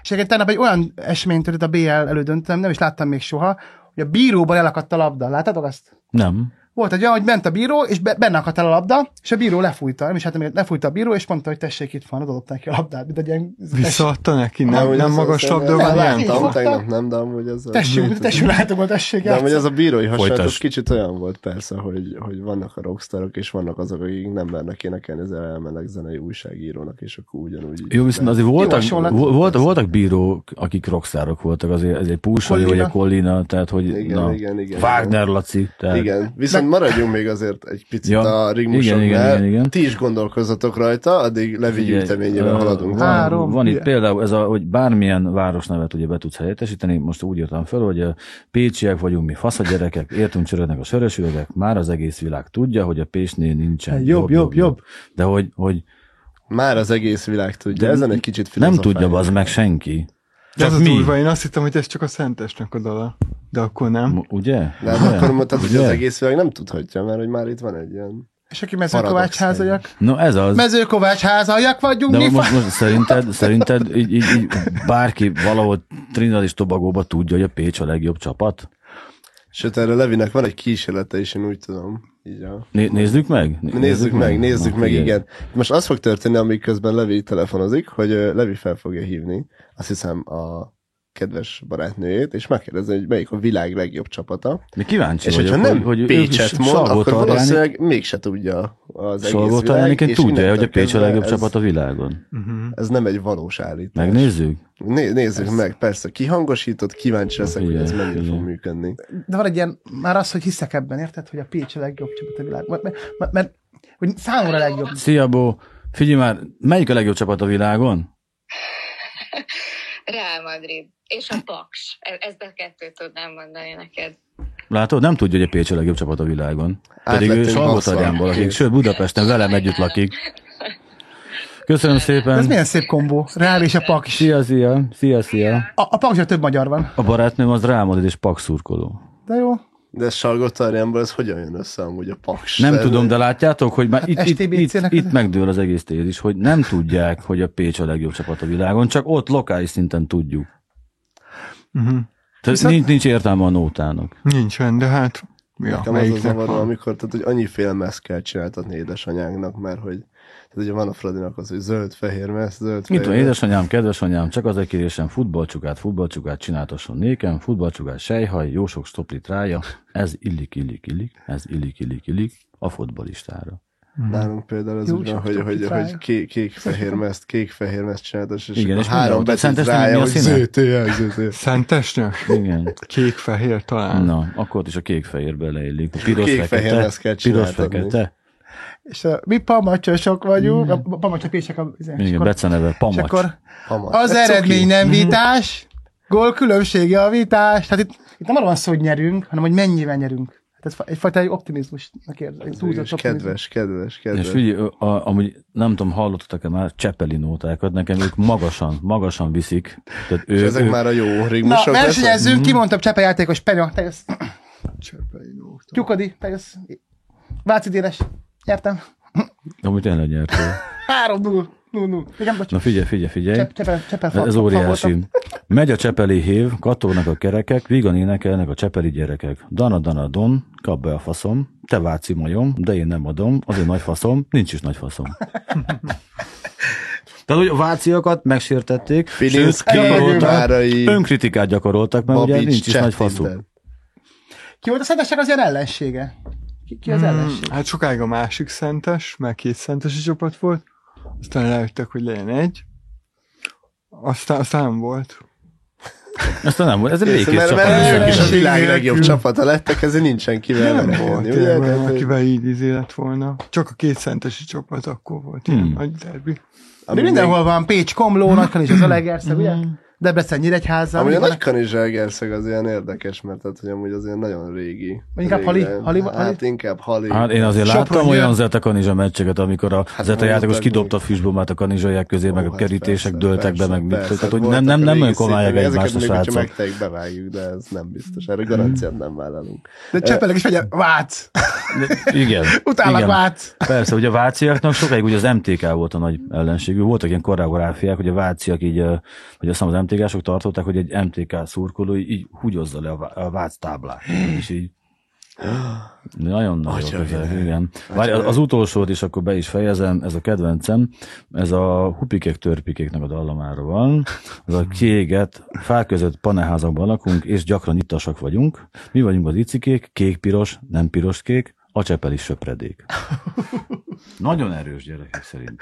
C: És egyébként tegnap egy olyan esemény történt a BL elődöntőm, nem is láttam még soha, hogy a bíróban elakadt a labda. Láttátok azt?
B: Nem.
C: Volt egy olyan, hogy ment a bíró, és be, benne akadt el a labda, és a bíró lefújta. Nem is hát, lefújta a bíró, és mondta, hogy tessék, itt van, odadobták ki a labdát, mint egy ilyen...
D: Visszaadta neki? Nem, nem,
A: Amúgy
D: nem
A: azt
D: magas
A: hiszem,
D: labdában
C: nem.
D: nem?
C: Így
A: Láttam,
C: fogta.
A: tegnap nem, de amúgy az a...
C: Tessék, tessék, látom, tessék,
A: De amúgy
C: játsszák.
A: az a bírói hasonlat, az
B: Folytasd.
A: kicsit olyan volt persze, hogy, hogy vannak a rockstarok, és vannak azok, akik nem mernek énekelni, ezzel elmennek zenei újságírónak, és akkor ugyanúgy...
B: Jó, viszont azért voltak,
A: hát
C: hasonlat.
B: vo- volt, voltak bírók, akik rockstárok voltak, azért ez egy Pulsai, vagy
C: Collina.
B: a Collina, tehát hogy
A: Igen,
B: na,
A: igen, igen.
B: Wagner Laci, tehát
A: Igen, viszont maradjunk még azért egy picit
B: Ja.
A: a rigmusoknál.
B: Igen, igen, igen, igen.
A: Ti is gondolkozzatok rajta, addig Levi
B: Figyelj,
A: gyűjteményében
B: ö, hát-
A: haladunk.
B: Van,
C: Három,
B: van itt
C: ugye?
B: például ez, a, hogy bármilyen városnevet ugye be tudsz helyettesíteni, most úgy írtam fel, hogy a pécsiek vagyunk mi, fasz a gyerekek, értünk csörögnek a sörös üvegek, már az egész világ tudja, hogy a Pécsnél nincsen.
C: Jobb, jobb, jobb.
B: De hogy, hogy
A: Már az egész világ tudja,
B: De
A: ezen egy kicsit
B: nem
A: filozofálni.
B: tudja az meg senki.
D: De ez
B: Csak
D: az
B: mi?
D: durva, én azt hittem, hogy ez csak a szentesnek a dala. De akkor nem.
B: M- Ugye?
A: Nem,
B: Ugye?
A: akkor mondtad, hogy az
B: [laughs] Ugye?
A: egész világ nem tudhatja, mert hogy már itt van egy ilyen...
C: És aki
A: Paradox
C: mezőkovácsházaiak?
B: No ez az.
C: Mezőkovácsházaiak vagyunk,
B: De
C: mi
B: most,
C: fa...
B: most szerinted, szerinted így, így, így, bárki valahol Trinidad és Tobagóba tudja, hogy a Pécs a legjobb csapat?
A: Sőt, erre Levinek van egy kísérlete is, én úgy tudom. Így a...
B: Né- nézzük meg? Né-
A: Nézzük meg, nézzük
B: Na,
A: meg,
B: figyelj.
A: igen. Most az fog történni, amíg közben Levi telefonozik, hogy ö, Levi fel fogja hívni, azt hiszem, a kedves barátnőjét, és megkérdezi, hogy melyik a világ legjobb csapata.
B: De kíváncsi
A: És
B: vagyok,
A: hogyha nem
B: hogy, hogy
A: Pécset mond, akkor
B: valószínűleg
A: valószínűleg mégse tudja az egész
B: Szolgóta
A: világ.
B: egyébként
A: és
B: tudja, hogy a
A: innentől
B: Pécs a
A: kezdve
B: legjobb Mhm.
A: ez,
B: csapat a világon.
A: Ez nem egy valós állítás.
B: Megnézzük?
A: Né- nézzük meg, persze, kihangosított, kíváncsi leszek, hogy ez
B: Igen,
A: mennyire
B: igen.
A: fog működni.
C: De van egy ilyen, már az, hogy hiszek ebben, érted, hogy a Pécs a legjobb csapat a világban. Mert, mert, mert hogy számomra a legjobb.
B: Szia, Bó! Figyelj már, melyik a legjobb csapat a világon?
E: Real Madrid és a Paks. E- Ezt a kettőt tudnám mondani neked.
B: Látod, nem tudja, hogy a Pécs a legjobb csapat a világon. Pedig ő
A: Átlettünk
B: Salgotarjánból lakik,
A: 22.
B: sőt Budapesten velem együtt lakik. Köszönöm szépen!
C: De ez milyen szép kombó. Reál és a Paks. is.
B: Szia, szia, szia, szia.
C: A, a Paksra több magyar van.
B: A barátnőm az rámodid és pakszurkoló.
C: De jó.
A: De Sargotarjánból ez hogyan jön össze amúgy a paks?
B: Nem
A: Tehát,
B: tudom, de látjátok, hogy már itt, itt, itt,
C: STBC-nek
B: itt megdől az egész tézis, hogy nem tudják, hogy a Pécs a legjobb csapat a világon, csak ott lokális szinten tudjuk.
D: Mhm.
B: Tehát
C: Viszont-
B: nincs, nincs értelme a nótának.
D: Nincsen, de hát mi a
A: Nekem az a
D: melyiknek
A: zavaró,
D: van.
A: amikor, tehát, hogy annyi fél meszt kell csináltatni édesanyánknak, mert hogy tehát ugye van a Fradinak az, hogy zöld-fehér meszt,
B: Mit tudom,
A: zöld-fehér meszt.
B: édesanyám, kedvesanyám, csak az egy kérésem, futballcsukát, futballcsukát csináltasson nékem, futballcsukát sejhaj, jó sok stoplit rája, ez illik, illik, illik, ez illik, illik, illik, a futballistára.
A: Nálunk például az
C: Jó,
A: úgy van,
C: sok
A: hogy, hogy,
C: topifája.
A: hogy kék, kék-fehér meszt, kék-fehér meszt csináltas, és
B: Igen,
A: akkor
B: és
A: három
B: mindenhol.
A: betűt
B: Szentesnek mi
A: rája,
B: a
A: hogy
B: színe?
A: zöld-fehér,
B: [laughs]
A: zöld-fehér.
D: Szentesnek?
B: Igen.
D: Kék-fehér talán.
B: Na, akkor ott is a kék-fehér beleillik. A piros
A: kék-fehér
B: fekete,
A: lesz kell
B: piros
A: csináltatni.
B: fekete.
C: És a, mi pamacsosok vagyunk, a pamacsapések a... izé, és
B: Igen,
C: akkor-
B: beceneve,
C: És
B: pamacs.
C: akkor
A: Hamacs.
C: az
A: Ez cuki.
C: eredmény nem vitás, gól különbsége a vitás. Tehát itt, itt nem arról van szó, hogy nyerünk, hanem hogy mennyivel nyerünk. Hát ez fa- egyfajta egy optimizmusnak érzem.
A: Ez
C: egy túlzott
A: mégis kedves,
C: optimizmus.
A: kedves,
B: És
A: kedves.
B: figyelj, a, amúgy nem tudom, hallottatok-e már Csepeli nótákat, nekem ők magasan, magasan viszik. Tehát
A: És
B: ő,
A: ezek
B: ő,
A: már a jó rigmusok.
C: Na,
A: lesznek?
B: Mm.
C: versenyezzünk, ki mondta a Csepe játékos, Penya, te jössz.
D: Csepei nóta.
C: Tyukadi, te jössz. Váci Dénes, nyertem.
B: amúgy tényleg nyertél.
C: 3-0, 0-0. Igen, bocs.
B: Na figyelj, figyelj, figyelj.
C: Csepe, Csepe, Csepe,
B: Ez, ez óriási. Megy a Csepeli hív, kattognak a kerekek, vígan énekelnek a Csepeli gyerekek. Dana, dana, don, kap be a faszom, te váci majom, de én nem adom, azért nagy faszom, nincs is nagy faszom.
A: [laughs]
B: Tehát, hogy a váciakat megsértették, sőt,
A: Pilinszki,
B: gyakorolták,
A: Márai,
B: önkritikát gyakoroltak, mert ugye
A: Babics,
B: nincs is nagy faszom.
A: Cseppinten.
C: Ki volt a szentesek az ilyen ellensége? Ki, ki az
D: Hmm,
C: ellenség?
D: Hát sokáig a másik szentes, mert két szentesi csapat volt, aztán rájöttek, hogy legyen egy, aztán, aztán nem volt.
B: Aztán nem volt, ez egy
A: Mert,
B: békés
A: mert,
B: csapat.
A: mert
B: senki
A: ők is a
B: sem-
A: világ legjobb
D: nélkül.
A: csapata lettek, ezért nincsen kivel
D: Nem volt
A: verekedni,
D: ilyen,
A: ugye? Tehát, hogy-
D: akivel így izé lett volna. Csak a két szentesi csapat akkor volt ilyen
B: Hmm.
D: nagy derbi.
C: Ami
A: ami
C: mindenhol van,
B: [laughs]
C: Pécs, Komló, Nagykan és az Alegerszeg, ugye? Debrecen,
A: még-
C: Nyíregyháza.
A: Amúgy a
C: mindig
A: nagy kanizselgerszeg az ilyen érdekes, mert tehát, hogy amúgy az ilyen nagyon régi.
C: Vagy inkább
A: Régen.
C: hali- hali- hali-
A: Hát inkább hali.
B: Hát én azért
C: Sopron
B: láttam
C: jön.
B: olyan Zeta Kanizsa meccseket, amikor a hát Zeta
A: voltak
B: játékos
A: még.
B: kidobta a füstbombát a kanizsaiak közé, meg
A: Ó,
B: a
A: hát
B: kerítések
A: persze,
B: dőltek
A: persze,
B: be, meg mit.
A: persze,
B: Tehát, hogy
A: voltak
B: nem, nem, nem
A: régi
B: olyan komolyak
A: szintek,
B: egymást a
A: Ezeket még, hogyha
B: srácok.
A: megtelik, bevágjuk, de ez nem biztos. Erre garanciát nem vállalunk.
C: De Csepelek is fegyel, Vác!
A: [laughs]
B: Igen.
C: Utálak
B: igen.
C: Vác!
B: Persze, ugye a váciaknak sokáig ugye az MTK volt a nagy ellenségű. Voltak ilyen koreográfiák, hogy a váciak így, ö, vagy azt hiszem az MTK-sok tartották, hogy egy MTK szurkoló így húgyozza le a vá- a vác táblát. És így nagyon nagyon
A: Atya
B: közel, igen. Várj, az az utolsót is akkor be is fejezem, ez a kedvencem, ez a hupikek törpikéknek a dallamára van, ez a kiégett, fák között paneházakban lakunk, és gyakran ittasak vagyunk. Mi vagyunk az icikék, kék-piros, nem piros-kék, a csepel is söpredék. Nagyon erős gyerekek szerint. Hmm.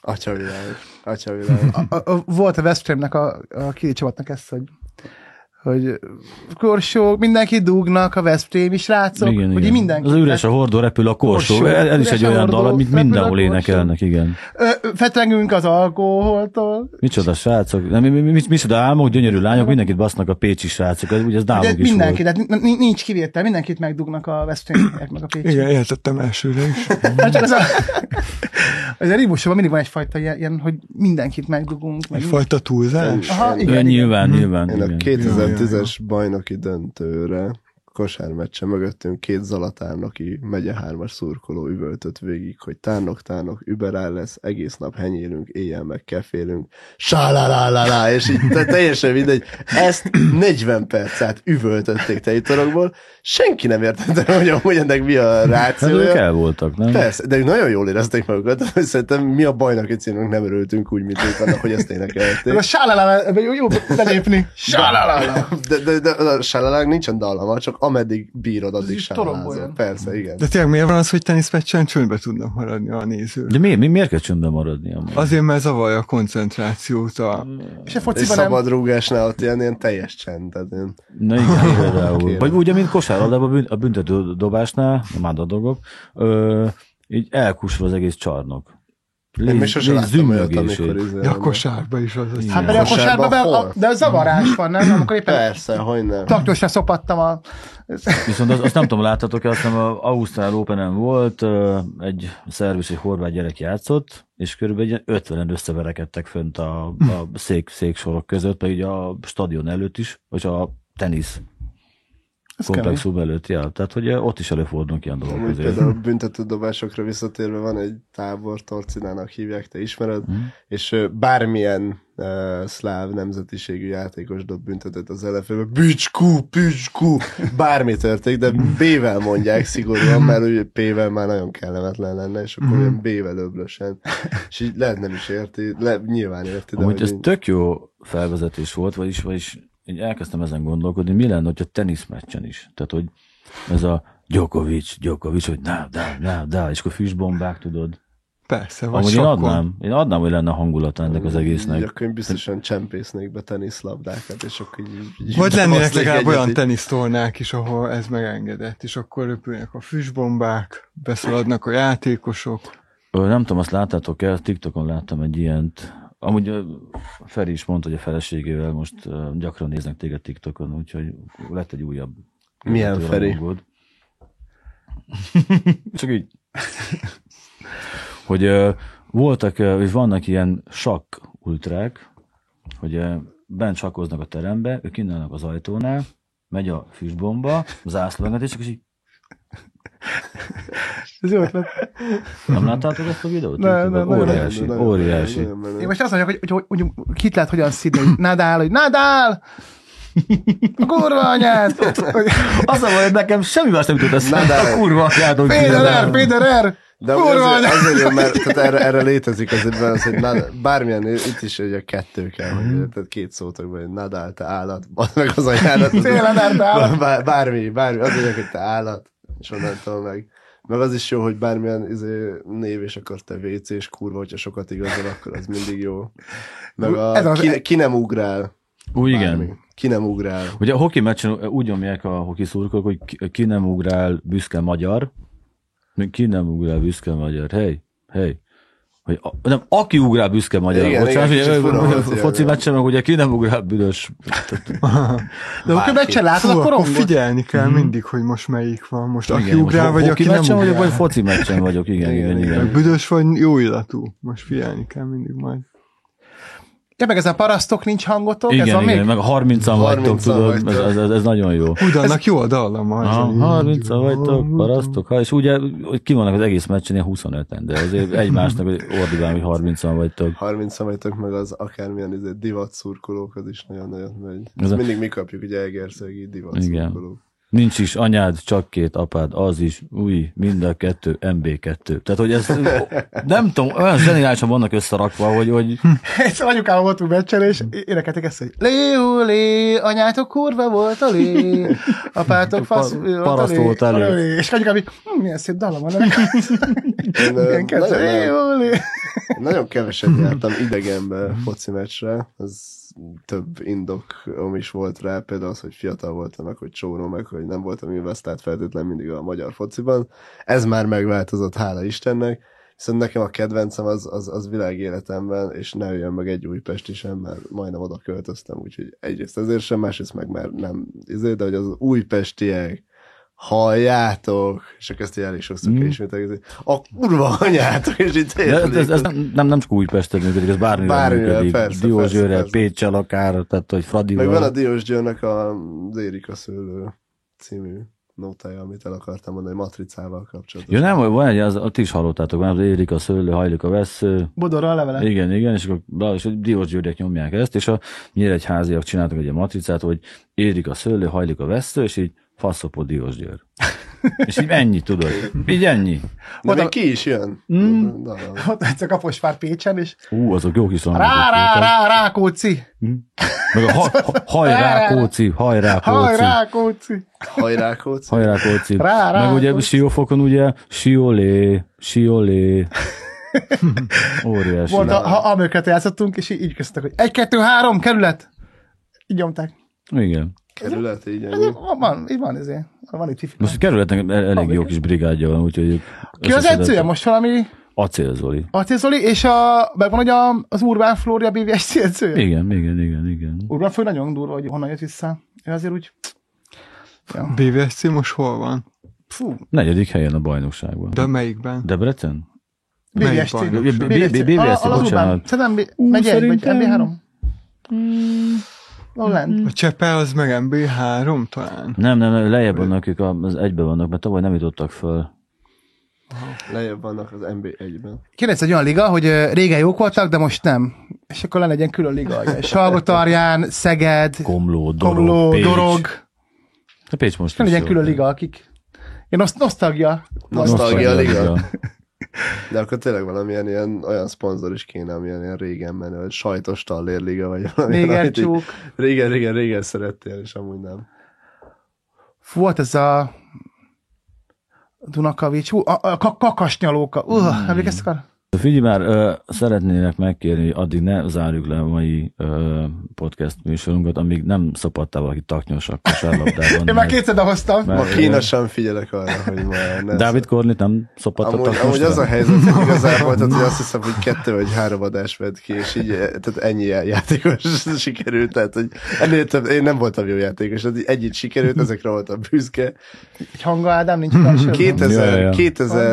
A: Atyavilág. Atyavilág.
C: A- a- a- Volt a West Hamnek a, a Kili csapatnak ezt, hogy hogy korsó, mindenki dugnak, a Veszprém is rácok,
B: igen,
C: hogy
B: igen.
C: mindenki.
B: Az üres a hordó, repül a korsó.
C: Korsó.
B: Ez, ez is
C: Üres
B: egy
C: a
B: olyan
C: hordó,
B: dal, amit
C: repül a
B: mindenhol
C: korsó.
B: énekelnek, igen.
C: Ö, ö, fetrengünk az alkoholtól.
B: Micsoda srácok, nem, mi, mi, mi, micsoda álmok, gyönyörű lányok, mindenkit basznak a pécsi srácok, ez ugye ez
C: De
B: nálunk is
C: mindenki,
B: mindenki.
C: de nin- nin- nincs kivétel, mindenkit megdugnak a Veszprémiek, meg a Pécsiek.
D: Igen, értettem elsőre is.
C: Hát csak az a, [laughs] az a rímusokban mindig van egyfajta ilyen, ilyen, hogy mindenkit megdugunk. Meg
D: Egyfajta túlzás.
C: Aha,
B: volt. Ő
C: igen, igen.
B: nyilván, nyilván.
A: Én a
B: igen.
A: 2010-es bajnoki döntőre kosármeccse mögöttünk két Zalatárnoki megye hármas szurkoló üvöltött végig, hogy tárnok, tárnok, überál lesz, egész nap henyélünk, éjjel meg kefélünk, sálálálálá, és így te- teljesen mindegy. Ezt 40 percát üvöltötték tejtorokból, senki nem értette, hogy amúgy ennek mi a
B: Hát ők
A: rációja.
B: el voltak, nem?
A: Persze, de ők nagyon jól érezték magukat, hogy szerintem mi a bajnoki címünk nem örültünk úgy, mint ők annak, hogy ezt énekelték.
C: Ez a sálalala, jó, jó belépni. Sálalala.
A: De, de, de a sálalág nincsen dallama, csak ameddig bírod, addig
C: is toromboljon.
A: sálálázol. Persze, igen.
D: De tényleg miért van az, hogy teniszmeccsen csöndbe tudnak maradni a nézők?
B: De miért, mi, miért kell csöndben maradni? amúgy?
D: Azért, mert zavarja a koncentrációt a...
C: És a
A: És
C: fociban nem.
A: szabad rúgásnál ott ilyen, ilyen teljes csend. Tehát én
B: Na igen, például.
A: Kérem.
B: Vagy ugye, mint kosárlabdában a bűn- a büntető dobásnál, már a dolgok, ö, így elkusva az egész csarnok. Légy,
A: én még sose láttam olyat, amikor izé-
D: Ja, a kosárba is az. az
B: Igen.
C: Hát mert a kosárban, be,
A: Kosárban
C: a,
A: hol?
C: de a zavarás van, nem? Amikor éppen
A: Persze, hogy nem.
C: taktosan szopattam a...
B: Viszont azt, azt nem tudom, láttatok-e, azt hiszem a Ausztrál Open-en volt, ö, egy szerv és egy horvát gyerek játszott, és körülbelül egy ilyen 50-en összeverekedtek fönt a,
A: Hm.
B: a szék, széksorok között, pedig a stadion előtt is, vagy a tenisz
C: Ez
B: komplexum előtt, ja. Tehát, hogy ott is előfordulnak ilyen dolgok.
A: Amúgy
B: azért.
A: például büntetődobásokra visszatérve van egy tábor, Torcinának hívják, te ismered, mm. és ö, bármilyen uh, szláv nemzetiségű játékos dob büntetőt az ellenfélbe, bücskú, bücskú, bármi történik, de B-vel mondják szigorúan, mert ugye P-vel már nagyon kellemetlen lenne, és akkor
B: Mm.
A: olyan B-vel öblösen. És így lehet nem is érti, le, nyilván érti, de
B: Amúgy ez
A: így-
B: tök jó felvezetés volt, vagyis, vagyis így elkezdtem ezen gondolkodni, mi lenne, hogyha teniszmeccsen is. Tehát, hogy ez a Djokovic, Djokovic, hogy dá, dá, dá, dá, és akkor füstbombák, tudod.
D: Persze, vagy
B: Amúgy én
D: sakkon.
B: adnám, én adnám, hogy lenne hangulata ennek az
A: Így
B: egésznek.
A: akkor én biztosan csempésznék be teniszlabdákat, és akkor így... így
D: Vagy lennének
A: basznék
D: legalább
A: egyet,
D: olyan
A: így-
D: tenisztornák is, ahol ez megengedett, és akkor röpülnek a füstbombák, beszaladnak a játékosok.
B: Ö, Nem tudom, azt láttátok el, TikTokon láttam egy ilyent. Amúgy ö, Feri is mondta, hogy a feleségével most ö, gyakran néznek téged TikTokon, úgyhogy lett egy újabb.
A: Milyen
B: követő
A: Feri?
B: rajongód. [laughs] Csak így. hogy ö, voltak, ö, és vannak ilyen sakk ultrák, hogy ö, bent sakkoznak a terembe, ők innen az ajtónál, megy a füstbomba, zászlóenget, és csak így,
C: Ez jó ötlet.
B: nem láttátok ezt a videót?
C: Nem, nem,
B: YouTube-on?
C: nem.
B: óriási,
A: Mhm. Nagyon- nagyon-
B: óriási.
A: nagyon menő.
C: Én most azt mondjuk, hogy, hogy, hogy, hogy kit lehet hogyan szidni, hogy Nadal, hogy Nadal! A kurva anyád!
B: Az a baj, hogy nekem semmi más nem jutott
A: Na,
B: eszembe.
A: de-
B: A kurva anyádon
C: Federer,
B: kívül.
C: Federer!
A: De
C: Kurva
A: azért,
C: anyád!
A: azért jön, mert
C: [laughs]
A: tehát erre, erre létezik azért benne az, hogy nada, bármilyen, itt is hogy a kettő kell,
C: Mhm.
A: hogy, tehát két szótokban, hogy nadál, hát te állat, bazd meg az ajánlat.
C: Tényleg, Nadal, te állat.
A: Bár, bármi, bármi, az mondják, hogy te állat, és onnantól meg. Meg az is jó, hogy bármilyen izé, név, és akkor te WC, és kurva, hogyha sokat igazol, akkor az mindig jó. Meg
C: Ez
A: a,
C: az-
A: ki, ki nem ugrál.
B: Úgy
A: Bármi.
B: igen.
A: Ki nem ugrál.
B: Ugye a hoki meccsen úgy nyomják a hoki szurkolók, hogy ki- ki nem ugrál büszke magyar, még ki nem ugrál büszke magyar, hely, hely. Hogy a, nem, aki ugrál büszke magyar.
A: Igen,
B: Bocsánat,
A: igen,
B: ugye,
A: kicsit fura
B: ugye,
A: volt, igen.
B: foci meccsen, meg ugye ki nem ugrál büdös.
C: De akkor meccsen látod,
D: Fú,
C: akkor
D: akkor
C: rongot.
D: figyelni kell mindig, hogy most melyik van. Most aki
B: Igen,
D: ugrál, vagy
B: hoki
D: aki nem
B: meccsen vagyok, vagy
D: ugrál.
B: foci meccsen vagyok, igen,
A: Igen,
B: igen, igen.
A: igen.
B: igen.
D: Vagy büdös vagy jó illatú. Most figyelni kell mindig majd.
C: Ja, meg ez a parasztok nincs hangotok,
B: Igen,
C: ez
B: igen,
C: van [laughs] még?
B: meg a 30-an
A: 30-an
B: vagytok, tudod,
A: szóval vagytok.
B: ez, ez, ez, ez nagyon jó.
D: Úgy annak jó a dallama. ez
B: Ha,
D: így-
B: 30 vagytok, parasztok, ha, és ugye hogy ki vannak az egész meccsen ilyen 25-en, de azért egymásnak hogy ordibálom, hogy 30-an vagytok.
A: 30 vagytok meg az akármilyen izé, divat szurkolók, az is nagyon-nagyon megy.
B: Ez
A: Ez
B: a-
A: mindig mi kapjuk, ugye egerszegi divat
B: Igen.
A: szurkolók.
B: Nincs is anyád, csak két apád, az is, új, mind a kettő, MB2. Tehát, hogy ez, nem tudom, olyan zseniálisan vannak összerakva, hogy, hogy
C: Egyszer anyukával voltunk meccsen, és énekeltek ezt, hogy lé, hú, lé, anyátok kurva volt a
B: [laughs]
C: lé, apátok fasz
B: Pa-
C: volt
B: paraszt
C: a lé,
B: volt a lé.
C: a lé. És anyukám így, hm, milyen szép dallam van. Milyen kedves,
A: nagyon-
C: lé, hú, lé.
A: Nagyon
B: [laughs]
A: keveset jártam idegenbe foci meccsre, ez több indokom is volt rá, például az, hogy fiatal voltam, meg hogy csóró, meg hogy nem voltam investált feltétlenül mindig a magyar fociban. Ez már megváltozott, hála Istennek. Viszont nekem a kedvencem az, az, az világéletemben, és ne jöjjön meg egy Újpesti sem, mert majdnem oda költöztem, úgyhogy egyrészt ezért sem, másrészt meg már nem. Ezért, de hogy az újpestiek, halljátok, és akkor ezt így elég sokszor mm. ismételgezni, a kurva anyátok, és itt
B: de ez, ez, ez nem, nem, nem csak Újpesten működik, ez bármivel,
A: Bármivel,
B: működik.
A: persze,
B: Diózsőre,
A: persze, persze.
B: Pécsel akár, tehát, hogy
A: Meg van a
B: Fradival.
A: Diós Győrnek a az Érika szőlő című nótája, amit el akartam mondani, matricával kapcsolatos.
B: Ja, nem, van egy, az, ti is hallottátok, van az érik a szőlő, hajlik a vesző,
C: Bodorral levele.
B: Igen, igen, és akkor be, és a diósgyőrek nyomják ezt, és a nyíregyháziak csináltak egy ilyen matricát, hogy érik a szőlő, hajlik a vesztő, és így faszopó
C: [laughs]
B: diósgyőr. és így ennyi, tudod. Így ennyi.
A: De
C: Oda-
A: még ki is jön.
B: Mm.
A: Na, na, na.
C: Ott egyszer Kaposvár Pécsen, és
B: Ú, azok jó kis langotok
C: rá, rá,
B: voltak.
C: rá, Rákóczi,
B: Meg a ha, ha, hajrá, kóci, hajrá,
C: haj,
B: kóci.
C: Rákóczi.
A: Hajrá, Kóci.
B: Hajrá, kóci.
C: Rá, rá,
B: Meg ugye
C: Kóci.
B: siófokon ugye, siolé,
C: [laughs]
B: siolé. Óriási.
C: Volt, a, ha amöket játszottunk, és í- így köztök, hogy egy, kettő, három, kerület. Így nyomták.
B: Igen.
A: Kerület, így
C: Ez
A: ennyi.
C: van, van, így van, ezért. Van itt fifi.
B: Most a kerületnek el- elég jó kis brigádja van, úgyhogy... ők
C: Ki az
B: összeszedett-
C: edzője? Most valami
B: Acél Zoli.
C: Arti Zoli, és a, megvan, hogy a, az Urbán Flória BVSC edzője?
B: Igen, igen, igen, igen.
C: Urbán Flória nagyon durva, hogy honnan jött vissza. Én azért úgy,
D: BVSC most hol van?
C: fú,
B: Negyedik helyen a bajnokságban.
D: De melyikben?
B: Debrecen?
D: Melyik
C: BVSC.
D: bajnok?
B: B- B- B-
C: BVSC.
B: BVSC,
C: A- a- az Urbán.
B: bocsánat.
C: Szerintem B-
B: Ú,
C: megy egy, vagy
B: szerintem-
C: MB3. lent.
D: A Csepe az meg MB3 talán.
B: Nem, nem, nem, lejjebb vannak, ők az egybe vannak, mert tavaly nem jutottak föl.
A: Lejjebb vannak az NB1-ben.
C: Kérdez egy olyan liga, hogy ö, régen jók voltak, de most nem. És akkor le legyen külön liga.
B: [laughs]
C: ugye. Salgotarján, Szeged,
B: Komló, Dorog,
C: Komló,
B: Pécs.
C: Dorog.
B: A Pécs most
C: Ne
B: is
C: legyen
B: jó.
C: külön liga, akik... Én azt nosztalgia.
A: Nosztalgia liga. De akkor tényleg valamilyen ilyen, olyan szponzor is kéne, amilyen ilyen régen menő, vagy sajtos tallérliga, vagy valami.
C: Négercsók.
A: Régen, régen, régen szerettél, és amúgy nem.
C: Fú, volt ez a Dunakavics, hú, a, a ka- kakasnyalóka. Uh, hmm. emlékeztek arra?
B: Figyelj már, ö, szeretnének megkérni, hogy addig ne zárjuk le a mai ö, podcast műsorunkat, amíg nem szopadtál valaki taknyos a kosárlabdában.
C: Én már kétszer hoztam.
A: Ma
B: Mert-
A: kínosan figyelek arra, hogy ma ne
B: Dávid Kornit nem szopadtad
A: Amúgy,
B: taknyosra?
A: amúgy az a helyzet, hogy
B: [laughs]
A: igazából, tehát, hogy azt hiszem, hogy kettő vagy három adás vett ki, és így, eh, tehát ennyi játékos [laughs] sikerült, tehát, hogy ennél több, én nem voltam jó játékos, tehát így együtt sikerült, ezekre voltam büszke.
C: Egy hanga Ádám nincs felsőben.
A: 2000,
B: Ja, ja.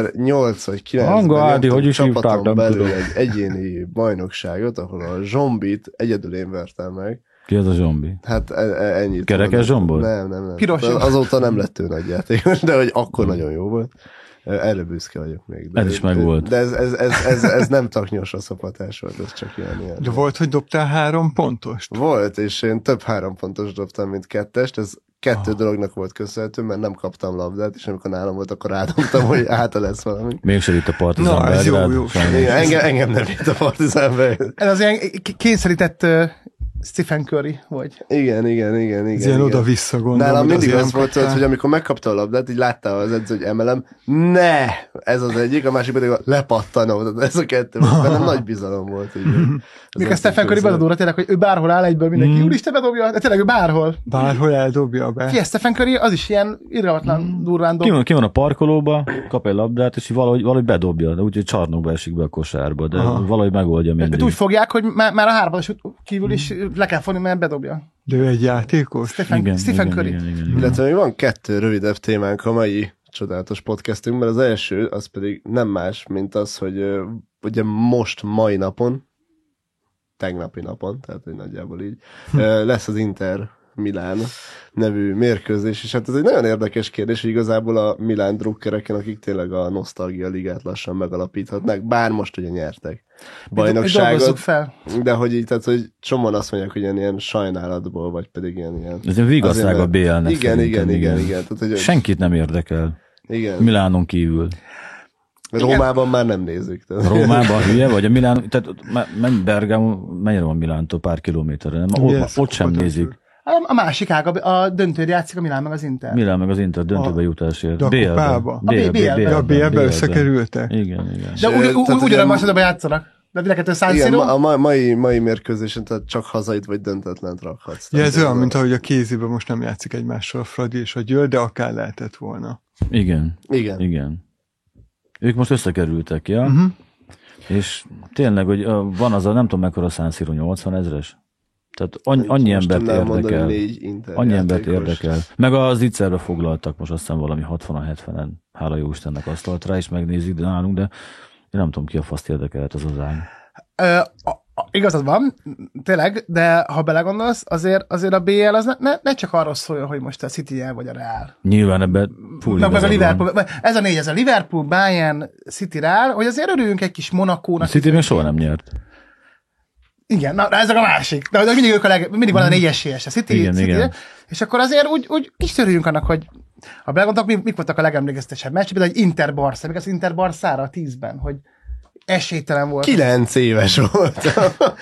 A: 2008 vagy 9 ben
B: Hanga Ádi, hogy is hívták,
A: csapaton
B: nem
A: belül
B: tudom.
A: egy egyéni bajnokságot, ahol a zsombit egyedül én vertem meg.
B: Ki az a zombi?
A: Hát e- e- ennyit. tudok.
B: Kerekes zsombor?
A: Nem, nem, nem.
C: Piros
A: De
C: zsombor.
A: Azóta nem lett ő nagy játékos, [laughs] de hogy akkor nagyon jó volt. E, Erre büszke vagyok még. De,
B: Hm. Ez is megvolt.
A: De ez, ez, ez, ez, ez nem taknyos a szopatás volt, ez csak ilyen,
D: De
A: ilyen.
D: volt, hogy dobtál három pontost?
A: Volt, és én több három pontos dobtam, mint kettest, ez kettő
B: Ah.
A: dolognak volt köszönhető, mert nem kaptam labdát, és amikor nálam volt, akkor rádobtam, hogy háta lesz valami.
B: Mégsem itt a Partizan
D: Na, ez jó,
B: Belgrád,
D: jó.
B: sajnos.
A: Igen, engem, engem nem jött a partizán be.
C: Ez az ilyen k- kényszerített uh, Stephen Curry, vagy
A: Igen, igen, igen,
D: Ez
A: igen.
D: ilyen
A: igen.
D: oda-vissza gondolom.
A: Nálam
D: hogy
A: mindig
D: azért
A: az
D: nem
A: volt, tudod,
D: kaptál.
A: hogy amikor megkapta a labdát, így látta az edző, hogy emelem, ne! Ez az egyik, a másik pedig a lepattanó. Tehát ez a kettő. volt. Bennem nagy bizalom volt. Így,
C: mikor Stephen Curry bedobóra tényleg, hogy ő bárhol áll egyből mindenki, mm. úristen bedobja, de tényleg ő bárhol.
D: Eh. Bárhol eldobja be.
C: Figyelj, Stephen Curry az is ilyen irgalmatlan durván
B: Ki
C: dob.
B: van, ki van a parkolóba, kap egy labdát, és így valahogy, valahogy bedobja, de úgyhogy csarnokba esik be a kosárba, de Aha. valahogy megoldja
C: Őt
B: mindig.
C: Hát úgy fogják, hogy már, már a hármas kívül is le kell fogni, mert bedobja.
D: De ő egy játékos?
C: Stephen, igen, Stephen Curry.
B: igen, igen, igen.
A: Illetve még van kettő rövidebb témánk a mai csodálatos podcastünk, mert az első az pedig nem más, mint az, hogy ö, ugye most, mai napon, tegnapi napon, tehát hogy nagyjából így,
C: Hm.
A: ö, lesz az Inter Milán nevű mérkőzés, és hát ez egy nagyon érdekes kérdés, hogy igazából a Milán drukkereken, akik tényleg a nosztalgia ligát lassan megalapíthatnák, bár most ugye nyertek
C: Dolgozzuk
A: bajnokságot,
C: fel.
A: de hogy így, tehát hogy csomóan azt mondják, hogy ilyen, ilyen sajnálatból, vagy pedig ilyen, ilyen
B: Ez egy vigaszság a
A: Azért, mert-
B: BL-nek.
A: Igen, igen, igen, igen. Tehát, hogy
B: Senkit nem érdekel.
A: Igen.
B: Milánon kívül.
A: Rómában már nem nézik. Tehát.
B: Rómában hülye vagy? A Milán, tehát ott me- menj Bergamo, mennyire van Milántól pár kilométerre? Nem? Ott,
D: Yes,
B: ott sem
D: ott-
B: nézik.
C: A, a másik ág, a, a döntőd játszik a Milán meg az Inter.
B: Milán meg az Inter döntőbe
D: A-
B: jutásért.
D: de a
B: BL-be.
D: kupába?
C: A B- BL-be.
B: BL-be,
D: De a BL-be
B: BL-be.
D: összekerültek?
B: Igen, igen.
C: De
A: És,
C: úgy, úgy,
A: tehát
C: úgy
A: ugye-
C: a másodikban játszanak. De mind a kettő
D: Hát,
C: San
A: Igen,
C: Siro.
A: ma- a ma- mai, mai mérkőzésen tehát csak hazait vagy döntetlent rakhatsz.
D: Ja, ez
A: Tehát
D: olyan, mint ahogy a kéziben most nem játszik egymással a Fradi és a Győr, de akár lehetett volna.
B: Igen,
A: Igen.
B: igen. Ők most összekerültek, ja?
C: Mhm.
B: Uh-huh. És tényleg, hogy ö, van az a, nem tudom mekkora szánszíró, 80 ezres? Tehát annyi, annyi
A: Most
B: embert
A: tudnám mondani,
B: érdekel.
A: négy Inter
B: Annyi embert
A: játékos.
B: érdekel. Meg az icerbe foglaltak most azt hiszem valami 60-70-en, hála jó Istennek asztalt rá, és megnézik, de nálunk, de én nem tudom ki a faszt érdekelt az az ány.
C: Ö, a- a- igazad van, tényleg, de ha belegondolsz, azért, azért a BL az ne, ne, ne csak arról szóljon, hogy most a city el vagy a Real.
B: Nyilván ebben full
C: Meg meg a
B: igazad van.
C: Liverpool, vagy- ez a négy, ez a Liverpool, Bayern, City, Real, hogy azért örüljünk egy kis
B: A
C: Monakónak.
B: City még soha nem nyert.
C: Igen, na, na ezek a másik. De, de mindig ők a leg, mindig van a négy esélyes, a City,
B: Igen,
C: City
B: igen.
C: és akkor azért úgy, úgy kis örüljünk annak, hogy ha belegondolok, mi, mik voltak a legemlékeztesebb meccs, például egy Inter Barca, még az Inter Barcára a tízben, hogy esélytelen volt.
A: Kilenc éves volt.
B: [laughs]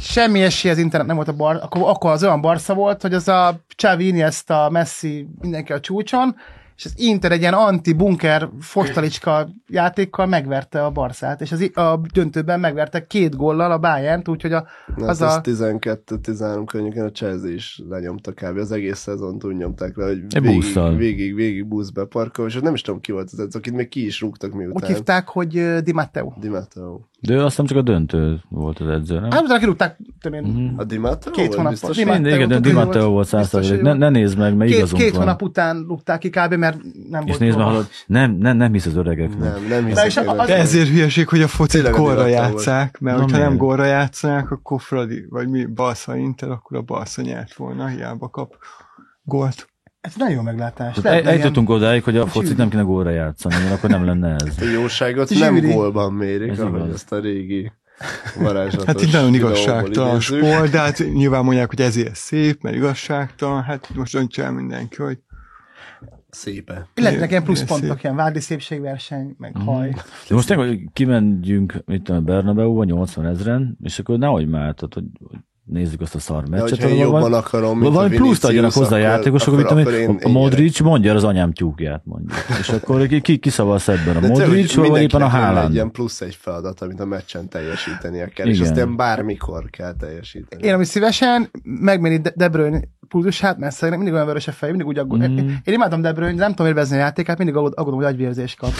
C: semmi esély az internet nem volt a bar, akkor, akkor az olyan barca volt, hogy az a Xavi, Iniesta, Messi, mindenki a csúcson, és az Inter egy ilyen anti-bunker fostalicska játékkal megverte a Barszát, és az, i- a döntőben megverte két góllal a Bayern-t, úgyhogy a,
A: Na,
C: az
A: az Hát ez
C: a...
A: 12-13 környéken a Chelsea is lenyomta kb. Az egész szezont úgy nyomták le, hogy
B: Egy busszal.
A: végig, végig, végig buszbe parkol, és ott nem is tudom ki volt az edző, akit még ki is rúgtak
C: Úgy
A: miután.
C: hívták, hogy ö, Di Matteo.
A: Di Matteo.
B: De ő azt hiszem csak a döntő volt az edző, nem?
C: Hát utána kirúgták, tudom én,
B: Mhm.
A: A Di Matteo?
C: Két
A: volt
C: hónappal.
A: biztos?
C: Di
B: Mindig,
C: Matteo
B: igen, de
C: tudod,
B: Di
C: hogy
B: Matteo
C: volt.
B: volt
C: Biztos,
B: százszerzelék.
C: hogy
B: Ne,
C: volt.
B: ne nézd meg, mert
C: két,
B: igazunk
C: két
B: van.
C: hónap után rúgták ki kb. mert mert nem
B: És
C: volt
B: nézd meg,
C: gól.
B: hallod, nem, nem, nem hisz az öregeknek.
A: Nem, nem
C: Na, és
A: hiszem.
C: a- az-
D: De ezért hülyeség, hogy a focit
A: Tényleg a
D: korra
A: divattal volt.
D: játszák, mert
B: Na,
D: hogyha nem
B: miért?
D: gorra játszanák, akkor Fradi, vagy mi, Balsza Inter, akkor a Balsza nyert volna, hiába kap gólt. Hát
C: Ez nagyon jó meglátás.
B: Tehát el-
C: Lehetne ilyen-
B: E- Eljutottunk odáig, hogy a focit nem kéne góra játszani, mert akkor nem lenne ez.
A: A jóságot
C: És
A: nem
C: Jüri.
A: gólban mérik,
B: Ez
A: ahogy
B: igaz.
A: azt a régi varázslatos
D: Hát itt nagyon
A: videóból
D: igazságtalan
A: idézzük.
D: sport, de hát nyilván mondják, hogy ezért szép, mert igazságtalan, hát most döntse el mindenki, hogy
A: Szépe.
C: Lehetnek ilyen
D: Milyen
C: pluszpontok,
D: szép.
C: ilyen vádi szépségverseny, meg
B: Mhm.
C: haj.
B: De most tényleg, hogy kimegyünk, mit tudom, Bernabeu-ba 80 ezren, és akkor nehogy már, tehát, hogy hogy nézzük azt a szar
A: De
B: meccset.
A: hogyha én
B: ahol
A: jobban
B: van-
A: akarom, mint
B: valami
A: a
B: pluszt adjanak
A: Vinicius,
B: hozzá a játékosok, akkor, akkor, én, a Modric mondja el az anyám tyúkját, mondjuk. És akkor ki, ki kiszavaz ebben? A
A: De tényleg
B: Modric, vagy
A: mindenkinek
B: éppen a
A: lenne Egy
B: Haaland?
A: ilyen plusz egy feladat, amit a meccsen teljesítenie kell, és
B: Igen.
A: azt ilyen bármikor kell teljesíteni.
C: Én, ami szívesen megmenni De, De Bruyne pulzusát, mert szerintem mindig olyan vörös a fej, mindig úgy aggódom. Mm. Én imádom De Bruyne, de nem tudom érvezni a játékát, mindig aggód- aggódom, hogy agyvérzést kap.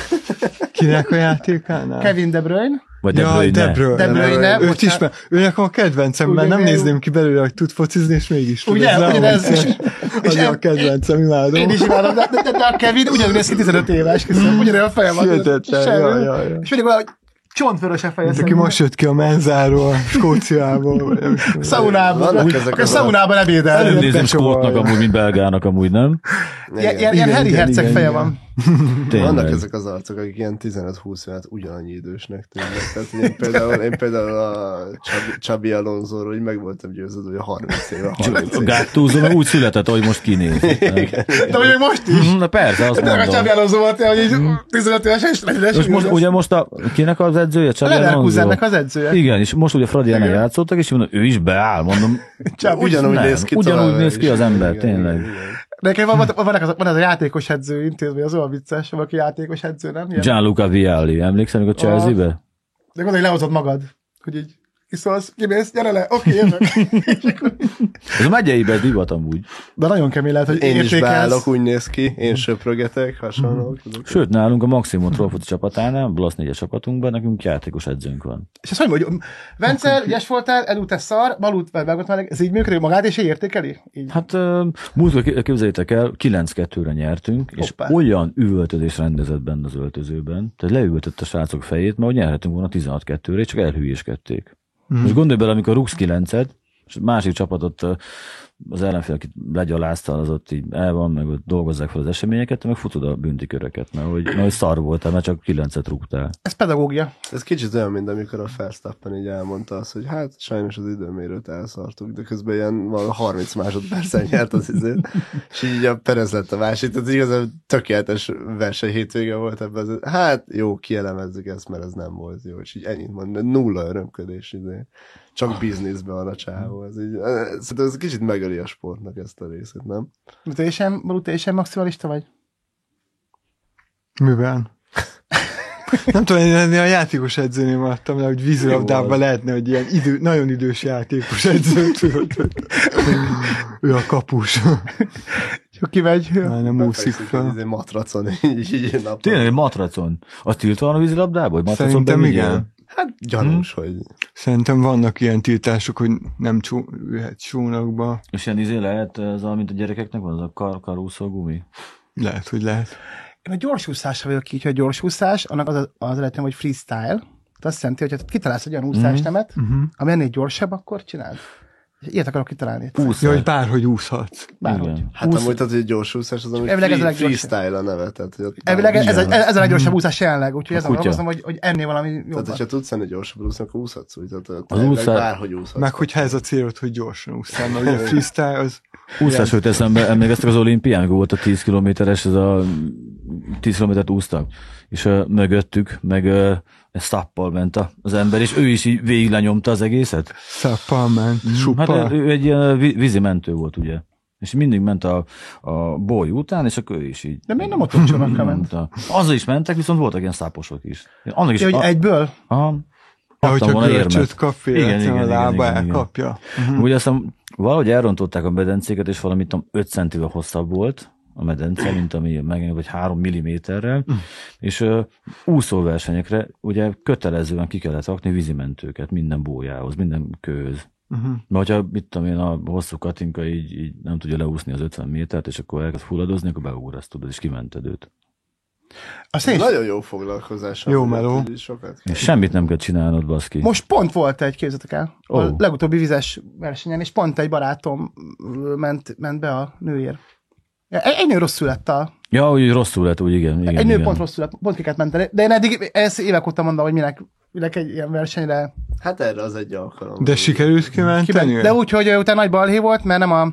D: kinek a játékánál?
C: Kevin De Bruyne,
B: Vagy De
D: Jaj,
B: Bruyne?
D: De Bruyne.
C: De Bruyne,
D: Őt
C: bocsánat.
D: ismer. Ő nekem a kedvencem, mert
C: Ugye,
D: nem
C: mi-
D: nézném ki belőle, hogy tud focizni, és mégis tud.
C: Ugye,
D: Ez nem
C: ugye, ez-
D: vicces. [laughs]
C: és- és
D: Az
C: em-
D: a kedvencem, imádom.
C: én is imádom, de, de, de, de a Kevin ugyanúgy néz ki 15 éves, köszönöm, ugyanolyan a fejem van.
D: Hihetetlen,
C: Semmi.
D: jaj, jaj, jaj.
C: És mindig olyan, hogy csontvörös a feje.
D: Mint aki
C: szerintem.
D: most jött ki a menzáról, Skóciából. vagy nem is tudom.
C: Szaunában.
A: Vannak ezek
C: Akkor
A: az
C: szaunában
B: Előbb
C: ebédel.
B: nézem
D: becsomagolja.
B: sportnak amúgy, mint belgának amúgy, nem?
C: Ilyen, ilyen,
A: Igen.
C: ilyen
D: Igen,
C: Harry
D: igen,
C: Herceg
D: igen,
C: feje
D: igen.
C: van.
A: Vannak
B: Tényleg.
A: ezek az arcok, akik ilyen 15-20 évet ugyanannyi idősnek tűnnek. Tehát én például, én például a Csabi, Csabi Alonzóról úgy meg voltam győződve, hogy a 30 éve, 30
B: A
A: éve.
B: Gáttúzó meg úgy született, ahogy most kinéz.
A: [laughs]
C: De mondjuk most is.
B: Na persze, azt
C: Tényleg a
B: mondom.
C: Csábi Alonso volt, hogy így 15 évesen is lesz.
B: És most, ugye most a, kinek az edzője? Csabi Alonso?
C: Leverkusennek az edzője.
B: Igen, és most ugye Fradi ellen játszottak, és mondom, ő is beáll,
A: [laughs]
B: mondom.
A: Csak ugyanúgy
B: nem,
A: néz ki.
B: ugyanúgy
A: továbbra
B: néz ki
A: is.
B: az ember,
A: Igen, igen,
B: tényleg.
A: igen.
C: Nekem van, van, van, az, van az a játékos edző intézmény, az olyan vicces, van, aki játékos edző, nem? Ilyen.
B: Gianluca Vialli, emlékszel, amikor Chelsea-be?
C: De gondolj, lehozott magad, hogy így iszolsz, kimész, gyere le, oké, jövök. És akkor-
B: Ez a megyeibe divat amúgy.
C: [laughs] De nagyon kemény lehet, hogy
A: Én is
C: értékelsz.
A: beállok, úgy néz ki, én söprögetek, hasonlók. tudok.
B: Sőt, nálunk a Maximum Trófoci csapatánál, Blasz 4 csapatunkban, nekünk játékos edzőnk van.
C: És azt mondja, hogy Vence, ügyes voltál, elúte szar, balut, meg meg, meg, ez így működik magát, és így értékeli? Így.
B: Hát ö, múltkor ki- képzeljétek el, 9-2-re nyertünk, és
C: Hoppá.
B: olyan üvöltözés rendezett benne az öltözőben, tehát leüvöltött a srácok fejét, mert hogy nyerhetünk volna 16-2-re, és csak elhülyéskedték. Most gondolj bele, amikor rúgsz 9-et, és a másik csapatot ö, az ellenfél, akit legyaláztál, az ott így el van, meg ott dolgozzák fel az eseményeket, te meg futod a bünti köröket, mert hogy, mert hogy szar voltál, mert csak 9-et rúgtál.
C: Ez pedagógia.
A: Ez kicsit olyan, mint amikor a Verstappen így elmondta azt, hogy hát sajnos az időmérőt elszartuk, de közben ilyen van 30 másodpercen nyert az [laughs] izét, és így a Perez lett a másik, tehát igazán tökéletes verseny hétvége volt ebben. Az, hát jó, kielemezzük ezt, mert ez nem volt jó, és így ennyit mond, de nulla örömködés izé. Csak bizniszben van a csávó. Ez így, szerintem ez kicsit megöli a sportnak ezt a részét, nem?
C: De Te sem, balut, te sem maximalista vagy?
D: Miben? Nem tudom, én ennél a játékos edzőnél maradtam le, hogy vízilabdában lehetne, hogy ilyen idő, nagyon idős játékos edző, tudod. Ő a kapus.
C: Csak kimegy.
D: Már nem úszik
A: Fekszik egy
D: fel.
A: izé matracon, így, így egy napon.
B: Tényleg egy matracon. Az tiltva van a vízilabdából? Hogy matracon
D: Szerintem
B: bevigyél?
D: igen.
A: Hát gyanús, hogy
D: Szerintem vannak ilyen tiltások, hogy nem csó, ülhet csónakba.
B: És ilyen izé lehet, ez a, mint a gyerekeknek van, az a kar, karúszó gumi.
D: Lehet, hogy lehet.
C: Én a gyorsúszásra vagyok így, hogy a gyorsúszás, annak az, az eredetlen, hogy freestyle. Tehát azt jelenti, hogy ha kitalálsz egy olyan úszástemet, mm-hmm. ami ennél gyorsabb, akkor csináld. És Ilyet akarok kitalálni.
D: Ja, hogy bárhogy úszhatsz.
C: Bárhogy.
B: Igen.
A: Hát amúgy tehát, hogy gyors úszás, az amúgy
C: elvileg ez a
A: free,
C: leggyorsabb.
A: freestyle a neve. Tehát, hogy ott-
C: Elvileg ez, ez, a- ez a leggyorsabb úszás jelenleg, úgyhogy
B: A
C: ezen
B: kutya.
C: gondolkozom, hogy, hogy ennél valami
A: Tehát,
C: jobbat.
A: hogyha tudsz enni gyorsabb úszni, akkor úszhatsz úgy. Tehát, tehát elvileg
B: úszás-
A: bárhogy úszhatsz.
D: Meg hogyha ez a célod, hogy gyorsan úszál, mert ugye a freestyle az
B: Úszás jut eszembe, emlékeztek az olimpián, amikor volt a 10 kilométeres, ez a 10 kilométert úsztak, és uh, mögöttük, meg uh, szappal ment a- az ember, és ő is így végig lenyomta az egészet.
D: szappal ment,
B: Hát
D: suppal.
B: ő, ő egy ilyen vi- vízimentő volt, ugye? És mindig ment a, a boly után, és akkor ő is így.
C: De miért nem ott csónakra ment?
B: nyomta. Azzal is mentek, viszont voltak ilyen száposok is. Annak is
C: Ja,
B: a-
C: hogy egyből?
B: Aha.
D: De
B: Adtam
D: hogyha
B: volna
D: görcsöt
B: érmet.
D: kap, véletlenül a lába elkapja.
B: Uh-huh. Ugye aztán valahogy elrontották a medencéket, és valami tudom, 5 centivel hosszabb volt a medence, mint ami megint, vagy 3 milliméterrel,
C: Hm.
B: és uh, úszóversenyekre ugye kötelezően ki kellett rakni vízimentőket minden bójához, minden kőhöz.
D: Uh-huh.
B: Mert hogyha, mit tudom én, a hosszú katinka így, így nem tudja leúszni az 50 métert, és akkor elkezd fulladozni, akkor beugrasz, tudod, és kimented őt.
C: Azt én
A: Ez
C: is.
A: nagyon jó foglalkozás.
D: Jó
A: amúgy,
D: meló.
A: úgyhogy Sokat kell.
B: És semmit nem kell csinálnod, baszki.
C: Most pont volt egy, képzeljétek el, a
B: Ó.
C: legutóbbi vizes versenyen, és pont egy barátom ö, ment, ment be a nőért. Ja, Egy, egy nő rosszul lett a...
B: Ja, úgy rosszul lett, úgy igen. igen
C: Igen, egy nő
B: igen.
C: pont rosszul lett, pont kiket ment el. De én eddig ezt évek óta mondom, hogy minek, minek egy ilyen versenyre
A: Hát erre az egy alkalom.
D: De sikerült kimenteni?
C: kiment. De úgy, hogy ö, utána nagy balhé volt, mert nem a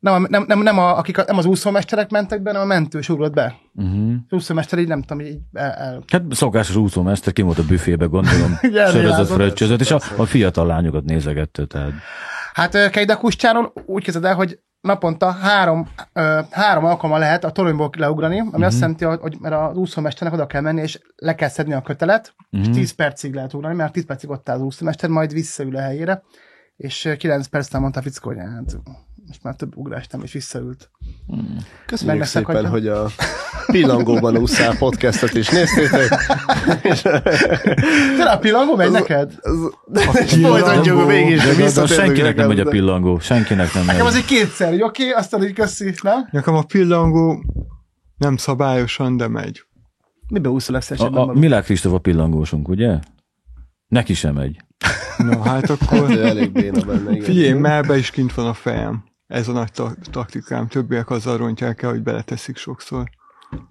C: nem, a, nem, nem, nem, a, akik a, nem az úszómesterek mentek be, hanem a mentős ugrott be.
A: Mhm.
B: Uh-huh.
C: Az úszómester így nem tudom, így el, el.
B: Hát szokásos úszómester kim volt a büfébe,
C: [laughs]
B: gondolom,
C: elvilázott.
B: sörözött, fröccsözött, és a, a fiatal lányokat nézegette, tehát
C: Hát ö, Kejdakuscsáról úgy kezded el, hogy naponta három, ö, három alkalommal lehet a toronyból leugrani, ami
A: Mhm.
C: uh-huh. azt jelenti, hogy- hogy mert az úszómesternek oda kell menni, és le kell szedni a kötelet, uh-huh.
A: Mhm.
C: és 10 percig lehet ugrani, mert 10 percig ott áll az úszómester, majd visszaül a helyére, és ö, 9 percnél mondta a fickó, hogy hát most már több ugrást nem, és visszaült.
A: Hmm. Köszönjük
C: Megveszek,
A: szépen,
C: hogyha-
A: hogy a pillangóban úszál podcastot is néztétek.
C: Te a pillangó megy
A: Az-
C: neked?
A: Az- És [laughs] Folytatjuk a végig is,
B: De,
A: de
B: de, de
A: visszatérünk
B: senkinek nem
A: rá,
B: megy a
A: de-
B: pillangó, senkinek nem megy.
C: Nekem az egy kétszer, hogy oké, aztán így köszi, nem?
D: Nekem a pillangó nem szabályosan, de megy.
C: Mibe úszol ezt
B: A, a Milák Kristóf a pillangósunk, ugye? Neki sem megy.
D: Na hát
A: Ő
D: akkor...
A: elég béna benne. igen.
D: Figyelj, már be is kint van a fejem. Ez a nagy ta- taktikám. Többiek azzal rontják el, hogy beleteszik sokszor.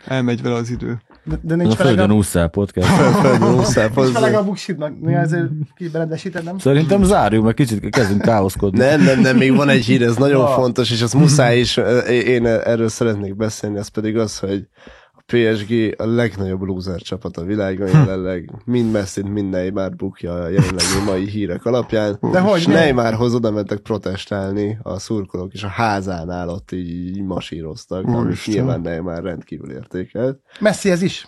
D: Elmegy vele az idő.
C: De, de
B: Ez a
C: nincs
B: földön
C: feleg a,
B: úszál podcast.
A: Földön úszál,
C: nincs feleg
A: hozzá.
C: a buksidnak, mi ezért kiberendesíted, nem?
B: Szerintem zárjuk, mert kicsit kezdünk káoszkodni.
A: Nem, nem, nem, még van egy hír, ez
C: [laughs]
A: nagyon fontos, és az muszáj is, ö, én erről szeretnék beszélni, ez pedig az, hogy a PSG a legnagyobb loser csapat a
C: Hm.
A: világon jelenleg, mind messi mind Neymar bukja a jelenlegi mai hírek alapján.
C: Hm. De hogy
A: és
C: nem?
A: Neymarhoz oda mentek protestálni a szurkolók, és a házánál ott így, így masíroztak, amit
D: Úristen.
A: nyilván Neymar rendkívül értékelt.
C: Messzi ez is.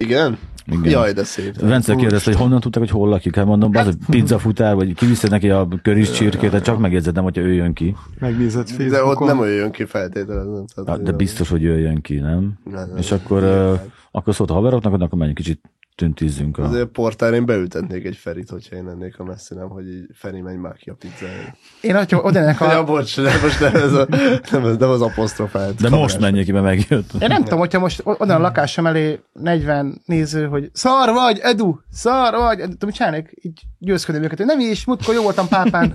A: Igen?
B: Igen.
A: Jaj, de szép.
B: Vence kérdezte, hogy honnan tudták, hogy hol lakik. Hát mondom, az, hogy pizzafutár, vagy kiviszed neki a köris csirkét, hát csak megjegyzed, nem, hogyha ő jön ki.
D: Megnézed Facebookon.
A: De ott nem olyan ki feltételezem. tehát
B: Hát, De
A: nem.
B: biztos, hogy ő jön ki, nem?
A: Nem, nem,
B: És
A: nem.
B: akkor, ö, akkor szólt a haveroknak, hogy akkor menjünk kicsit tüntízzünk. A...
A: Azért a portál én beültetnék egy Ferit, hogyha én lennék a messzi, nem, hogy így Feri menj már ki a pizzáért.
C: Én, hogyha oda ennek
A: Ja,
C: a...
A: bocs, nem, most nem ez a, nem, ez, nem az apostrofált.
B: De
A: kamerás.
B: most menjék ki, mert megjött.
C: Én nem tudom, hogyha most oda a lakásom elé 40 néző, hogy szar vagy, Edu, szar vagy, Edu, tudom, mit csinálnék? Így győzködöm őket, hogy nem is, múltkor jó voltam pápán.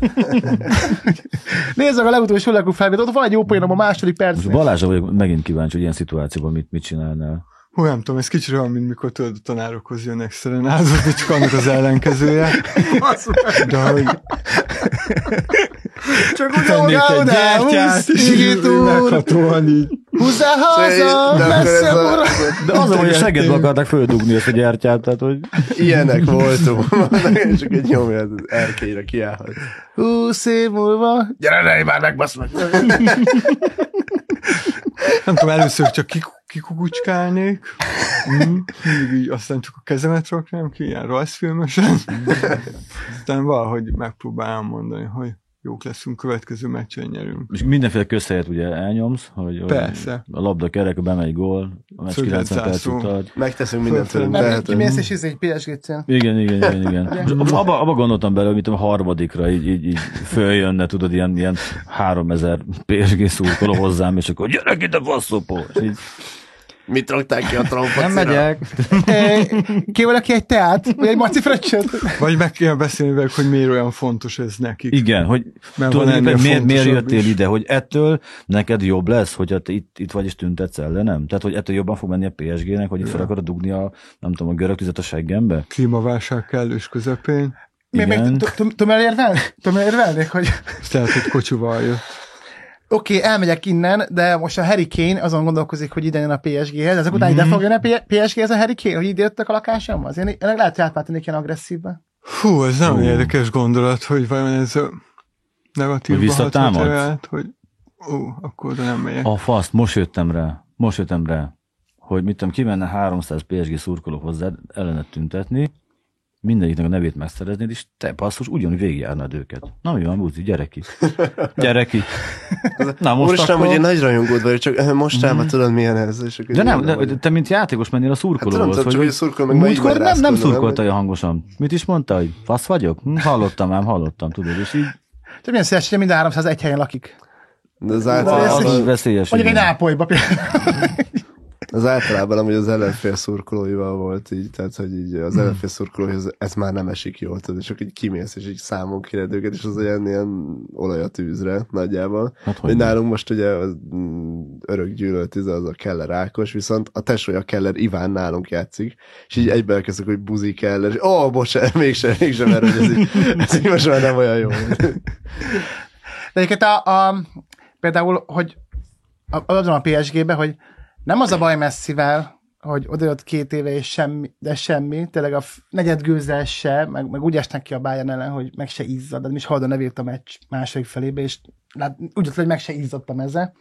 C: Nézd meg a legutolsó legú felvételt, ott van egy jó poénom a második
B: Most
C: percben.
B: Balázsa vagyok megint kíváncsi, hogy ilyen szituációban mit, mit csinálnál.
D: Hú, nem tudom, ez kicsit olyan, mint mikor tudod, a tanárokhoz jönnek szerenázott, csak annak az ellenkezője. De hogy
C: Csak úgy, ahogy
D: tennék egy
C: oda,
D: gyertyát, és így
C: húsz, úr,
D: meghatóan így.
C: húzzá
A: Szóval De akkor
C: haza,
A: ez
C: messze
A: a-
C: ura.
B: De azon, hogy a segedbe akarták földugni ezt a gyertyát, tehát hogy...
A: Ilyenek voltunk. [laughs] Csak egy nyomja az erkélyre kiállhat.
C: Húsz év múlva. Gyere, ne, már megbasznak.
D: Nem tudom, először csak kik- kikukucskálnék, mm, mindig így, aztán csak a kezemet raknám ki, ilyen rajzfilmesen. Aztán valahogy megpróbálom mondani, hogy jók leszünk, következő meccsen nyerünk.
B: És mindenféle közhelyet ugye elnyomsz, hogy, hogy
D: Persze.
B: a labda kerek, bemegy gól, a meccs
D: Szöget
B: 90 percig
D: zászló.
B: tart.
A: Megteszünk mindent tőlünk.
C: Nem,
A: tehetőt.
C: kimész és izé, PSG-t csinál.
B: Igen, igen, igen, igen. És Abba, abba gondoltam bele, hogy mit tudom, a harmadikra így, így, így följönne, tudod, ilyen, ilyen 3000 PSG szurkoló hozzám, és akkor gyerek ide, faszopó! És így,
A: Mit rakták ki a trompot?
C: Ö, Kér valaki egy teát, vagy egy maci fröccsöt?
D: Vagy meg kell beszélni velük, hogy miért olyan fontos ez nekik.
B: Igen, hogy
D: van
B: tulajdonképpen
D: ennél
B: miért, miért
D: fontosabb
B: jöttél
D: is.
B: ide, hogy ettől neked jobb lesz, hogyha te itt, itt vagy és tüntetsz ellenem? Tehát, hogy ettől jobban fog menni a PSG-nek, hogy itt fel akarod dugni a, nem tudom, a görög tüzet a seggembe?
D: Klímaválság kellős közepén,
C: Még- még
B: Igen.
C: t- t- Tudom elérvelni? Tudom elérvelnék, hogy
D: azt lehet, hogy kocsival jött.
C: oké, okay, elmegyek innen, de most a Harry Kane azon gondolkozik, hogy ide jön a PSG-hez, ezek
B: Mhm.
C: után ide fog jönni a P- PSG-hez a Harry Kane, hogy ide jöttek a lakásomhoz. Én én lehet, hogy átváltanék ilyen agresszívbe.
D: Hú, ez nem érdekes gondolat, hogy vajon ez a negatív
B: Hogy visszatámadsz?
D: hogy ó, akkor oda nem megyek.
B: A faszt, most jöttem rá, most jöttem rá, hogy mit tudom, kimenne 300 PSG szurkoló hozzád ellenet tüntetni, mindegyiknek a nevét megszereznéd, és te basszus ugyanúgy végigjárnád őket. Na mi van, Buzi, gyere ki. Gyere
D: [laughs]
B: ki. Na most
A: Most nem,
B: akkor...
A: hogy én nagy rajongód vagyok, csak [laughs] ö, mostában tudod milyen ez. És akkor
B: De nem,
A: mondom,
B: de,
A: hogy-
B: de te mint játékos mennél a
A: Hát
B: szurkolóhoz,
A: tudom, csak, hogy szurkol, meg ma így
B: múltkor nem, nem
A: magyarázkodom,
B: szurkolta olyan hangosan. Mit is mondta, hogy fasz vagyok? Hm, hallottam ám, hallottam, tudod, és így
C: Csak milyen szíves, hogy mind a 300 egy helyen lakik.
A: De az
C: ez
B: Az
A: általában,
B: veszélyes.
C: Mondjuk egy
B: igen.
C: nápolyba például.
A: az általában amúgy az ellenfél szurkolóival volt így, tehát hogy így az ellenfél szurkolóihoz ez már nem esik jól, tudod, és akkor így kimész, és így számon kéred őket, és az olyan ilyen olaj a tűzre nagyjából.
B: Hát hogy
A: Hogy
B: nem.
A: nálunk most ugye az mm, örök gyűlölt ize az a Keller Ákos, viszont a tesója Keller Iván nálunk játszik, és így egybe elkezdtük, hogy buzi Keller, és ó, oh, bocsánat, [laughs] mégsem, mégsem, mert hogy ez így, ez így most már nem olyan jó.
C: De egyébként a, a, például, hogy a- azon a PSG-be, hogy nem az a baj messzivel, hogy odajött két éve és semmi, de semmi, tényleg a f- negyed gőzzel se, meg, meg úgy esnek ki a Bayern ellen, hogy meg se izzad, de is haldan evért a meccs második felébe, és lát, úgy jött, le, hogy meg se izzadtam ezzel,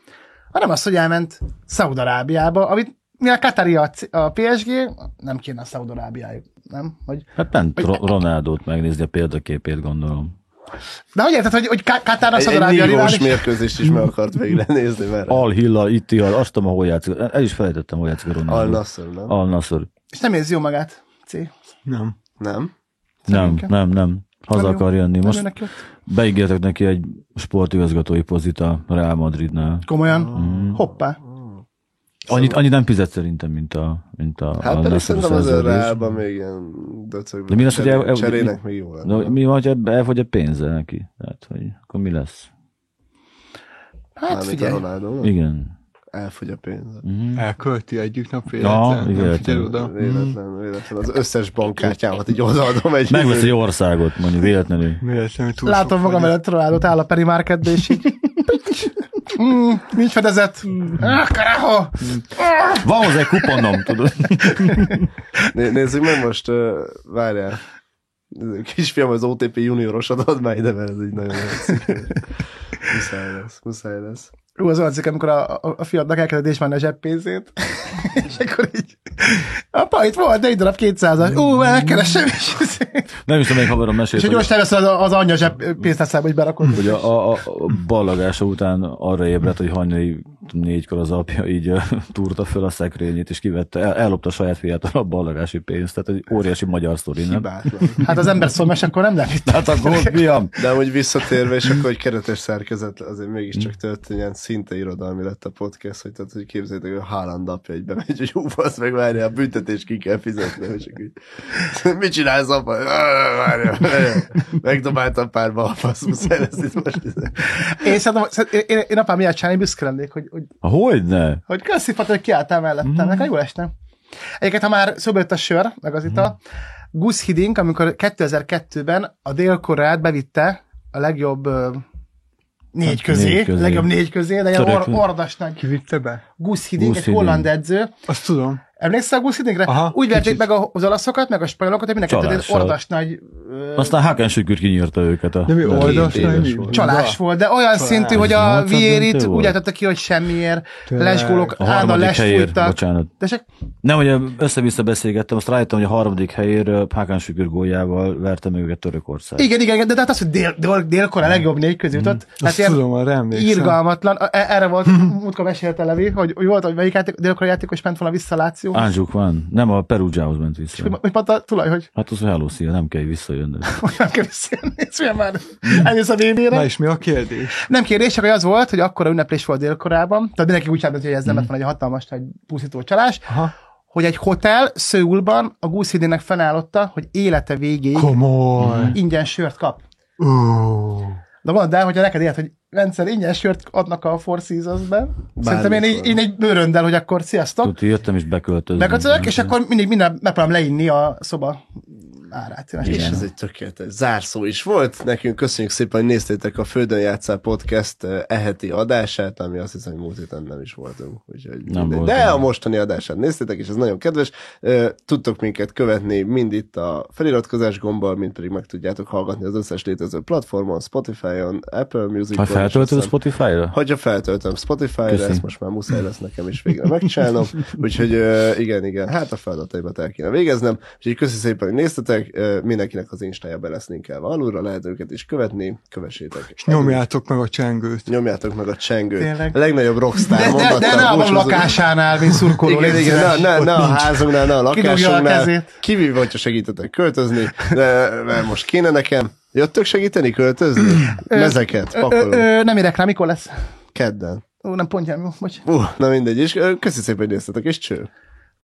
C: hanem az, hogy elment Szaudarábiába, amit mivel Katari a, c- a PSG, nem kéne a Szaudarábiájuk, nem? Hogy
B: Hát nem Ro- Ronaldót megnézni a példaképét, gondolom.
C: De hogy érted, hogy, hogy Ka- Katár a
A: Egy, egy
C: Szaudarábia
A: nívós
C: rivális?
A: mérkőzést is meg akart végre nézni, mert Al,
B: Al Hilla, itt Hilla, azt tudom, ahol játszik. El is felejtettem, hol játszik a
A: Al
B: Ronaldo.
A: Nassr, nem?
B: Al Nassr.
C: És nem érzi jó magát. C.
D: Nem.
A: Nem?
B: Nem,
C: Szerintem.
B: nem, nem. Haza
C: Nem jó.
B: akar jönni.
C: Most...
B: Most
C: Neki ott.
B: beígértek neki egy sportigazgatói pozit a Real Madridnál.
C: Komolyan? Hoppá.
B: Annyit, annyit nem fizet szerintem, mint a, mint a,
A: Szóval- Hát
B: a
A: pedig
B: Nassr
A: szerintem az
B: szerződés.
A: Reálban még ilyen döcögben.
B: De mi lesz, hogy el- el-
A: cserének még jó lenne. Hát
B: De mi van, ha elfogy a pénze neki? Tehát, hogy akkor mi lesz?
C: Hát
A: Mármint a
C: figyelj.
B: Hm.
A: Ronaldo,
B: Igen.
A: elfogy a pénze.
D: Elkölti egyik nap
B: Ja,
D: véletlen.
B: véletlen.
D: nem figyel oda. Hmm.
A: Véletlen, véletlen. Az összes bankkártyámat így odaadom egy
B: Mm. Megvesz egy országot, mondjuk véletlenül.
D: Véletlenül túl
C: Látom
D: sok
C: magam
D: vagy.
C: előtt Ronaldot áll a Penny Marketbe, és így... Mm, nincs fedezet. Ah, karaho!
B: Van hozzá egy kuponom, tudod?
A: Né- Nézzük meg most, ö, várjál. Kisfiam az OTP juniorosat ad már ide, mert ez így nagyon
B: [laughs]
A: látszik. Muszáj lesz, muszáj lesz.
C: Ú, az olyan cikk, amikor a, a, a fiadnak elkezdett ismerni a zseppénzét, és akkor így... Apa, itt volt egy darab 200-as. Ú, már megkeresem is.
B: Nem is tudom, melyik haverom
C: És
B: mesélt,
C: hogy
B: hogy,
C: most elveszed az, az anyja zseppénztárszába, hogy berakod.
B: hogy a, a, a ballagása után arra ébredt, hogy hajnali négykor az apja így ö, túrta föl a szekrényét, és kivette, el, ellopta a saját fiától a ballagási pénzt. Tehát egy óriási magyar sztori, nem?
A: Hibátlan.
C: Hát az ember szól, mert akkor nem lehet.
B: Hát akkor fiam,
A: De amúgy visszatérve, és akkor egy keretes szerkezet azért mégiscsak történjen, szinte irodalmi lett a podcast, hogy, tehát, hogy képzeljétek, hogy Haaland apja így bemegy, hogy hú, az meg várja, a büntetés ki kell fizetni, és akkor így, mit csinálsz, apa? "Á, Várja, várja. megdobáltam pár balfasz, muszáj lesz itt most.
C: Én, szerintem, én, én, én apám miatt csinálni büszke lennék, hogy, hogy
B: hogyne?
C: hogy köszi, Pata, hogy kiálltál
B: Mhm.
C: mellettem, mm. nekem jól esne. Egyébként, ha már szóba jött a sör, meg az
B: Mhm.
C: ital, mm. Gus Hiddink, amikor 2002-ben a dél-koreát bevitte a legjobb ö, négy közé,
B: Hát, négy
C: négy
B: közé.
C: közé. legjobb négy közé, de ilyen
B: Török.
C: or, ordas nagy
D: Ki vitte be?
C: Gus Hiddink,
B: Gus
C: egy
B: Hiddink.
C: holland edző.
D: Azt tudom.
C: Emlékszel Gus Hiddinkre?
D: Aha,
C: Úgy verték
D: kicsit.
C: meg a- az olaszokat, meg a spanyolokat, hogy mindenket egy
B: Csalással.
C: ordas nagy ö,
B: Aztán Haken Sükür kinyírta őket. A
D: De mi
B: a
D: oldas?
B: hét éves
D: nem?
B: volt.
C: csalás volt, de olyan
D: Csalás.
C: szintű, hogy a
B: Nyolcad
C: Vierit
B: döntő
C: úgy
B: volt?
C: álltotta ki, hogy semmiért,
D: Tényleg.
C: lesgólok,
B: A
C: állandóan
B: harmadik helyért,
C: lesfújtak.
B: bocsánat.
C: Tessék?
B: Nem, hogy össze-vissza beszélgettem, azt rájöttem, hogy a harmadik helyér Hákán Sükür góljával verte meg őket Törökország.
C: Igen, igen, igen, de hát az, hogy dél, dél, délkor a legjobb négy közé jutott, hát
D: Mm. Azt
C: ilyen
D: tudom, arra emlékszem.
C: irgalmatlan, E- erre
D: [laughs]
C: volt, múltkor mesélte Levi, hogy, hogy volt, hogy melyik játék, délkor játékos ment volna vissza Láció,
D: Ah.
B: Ánzsuk van. Nem, a Perugiához ment
C: hogy
B: vissza.
C: hogy mondta a tulaj, hogy [laughs]
B: Hát az, hogy hello, szia, nem kell visszajönnöd.
C: hogy nem kell visszajönni, és milyen már
D: Mm.
C: eljössz a
D: Na
C: vb
D: és mi a kérdés?
C: Nem kérdés, csak hogy az volt, hogy akkora ünneplés volt délkorában, tehát mindenki úgy állt, hogy ez nem lett volna egy hatalmas nagy puszító csalás,
D: Aha.
C: hogy egy hotel Szőulban a Gúszidének fenállotta, hogy élete végéig
D: Komoly.
C: ingyen sört kap.
D: Ó.
C: De mondd el, hogyha neked ilyet, hogy rendszer ingyen sört adnak a Four Seasons-ben. Szerintem én így, én így bőröndel, hogy akkor sziasztok,
B: Tudod, jöttem és beköltöztem.
C: bekötözök, és akkor mindig minden megpróbálom leinni a szoba árát. És
A: És ez egy tökéletes zárszó is volt. Nekünk köszönjük szépen, hogy néztétek a Földön Játszál Podcast eh, eheti adását, ami azt hiszem, hogy múlt héten nem is voltunk. Úgyhogy nem
B: voltunk.
A: De a mostani adását néztétek, és ez nagyon kedves. Eh, Tudtok minket követni mind itt a feliratkozás gombbal, mind pedig meg tudjátok hallgatni az összes létező platformon, Spotify-on, Apple
B: Ha
A: Music-on.
B: feltöltöd a Spotify-ra?
A: Hogyha feltöltöm Spotify-ra,
B: Köszi.
A: ezt most már muszáj lesz nekem is végre
C: [laughs]
A: megcsinálnom. Úgyhogy ö, igen, igen, hát a feladataimat el kéne végeznem. Úgyhogy köszi szépen, hogy néztetek. Ö, Mindenkinek az instája be lesz linkelve alulra, lehet őket is követni, kövessétek.
D: Nyomjátok meg a csengőt.
A: Nyomjátok meg a csengőt.
C: Tényleg.
A: A legnagyobb rockstar
C: De, de, de
A: mondattal
C: ne a
A: búcsúzunk.
C: lakásánál, mint szurkoló
A: Igen,
C: légy
A: igen,
C: szíves.
A: ne, ne, ne a
C: Ott nincs.
A: házunknál, ne a
C: Kidobja a
A: lakásunknál.
C: kezét.
A: Kivéve, hogyha segítetek költözni, de, mert most kéne nekem. Jöttök segíteni költözni? Mezeket,
C: Ö, ö,
A: pakolunk.
C: ö, nem érek rá, mikor lesz?
A: Kedden.
C: Ó, nem pontjám, jó, bocs.
A: Ú, na mindegy, és ö, köszi szépen, hogy néztetek, és cső.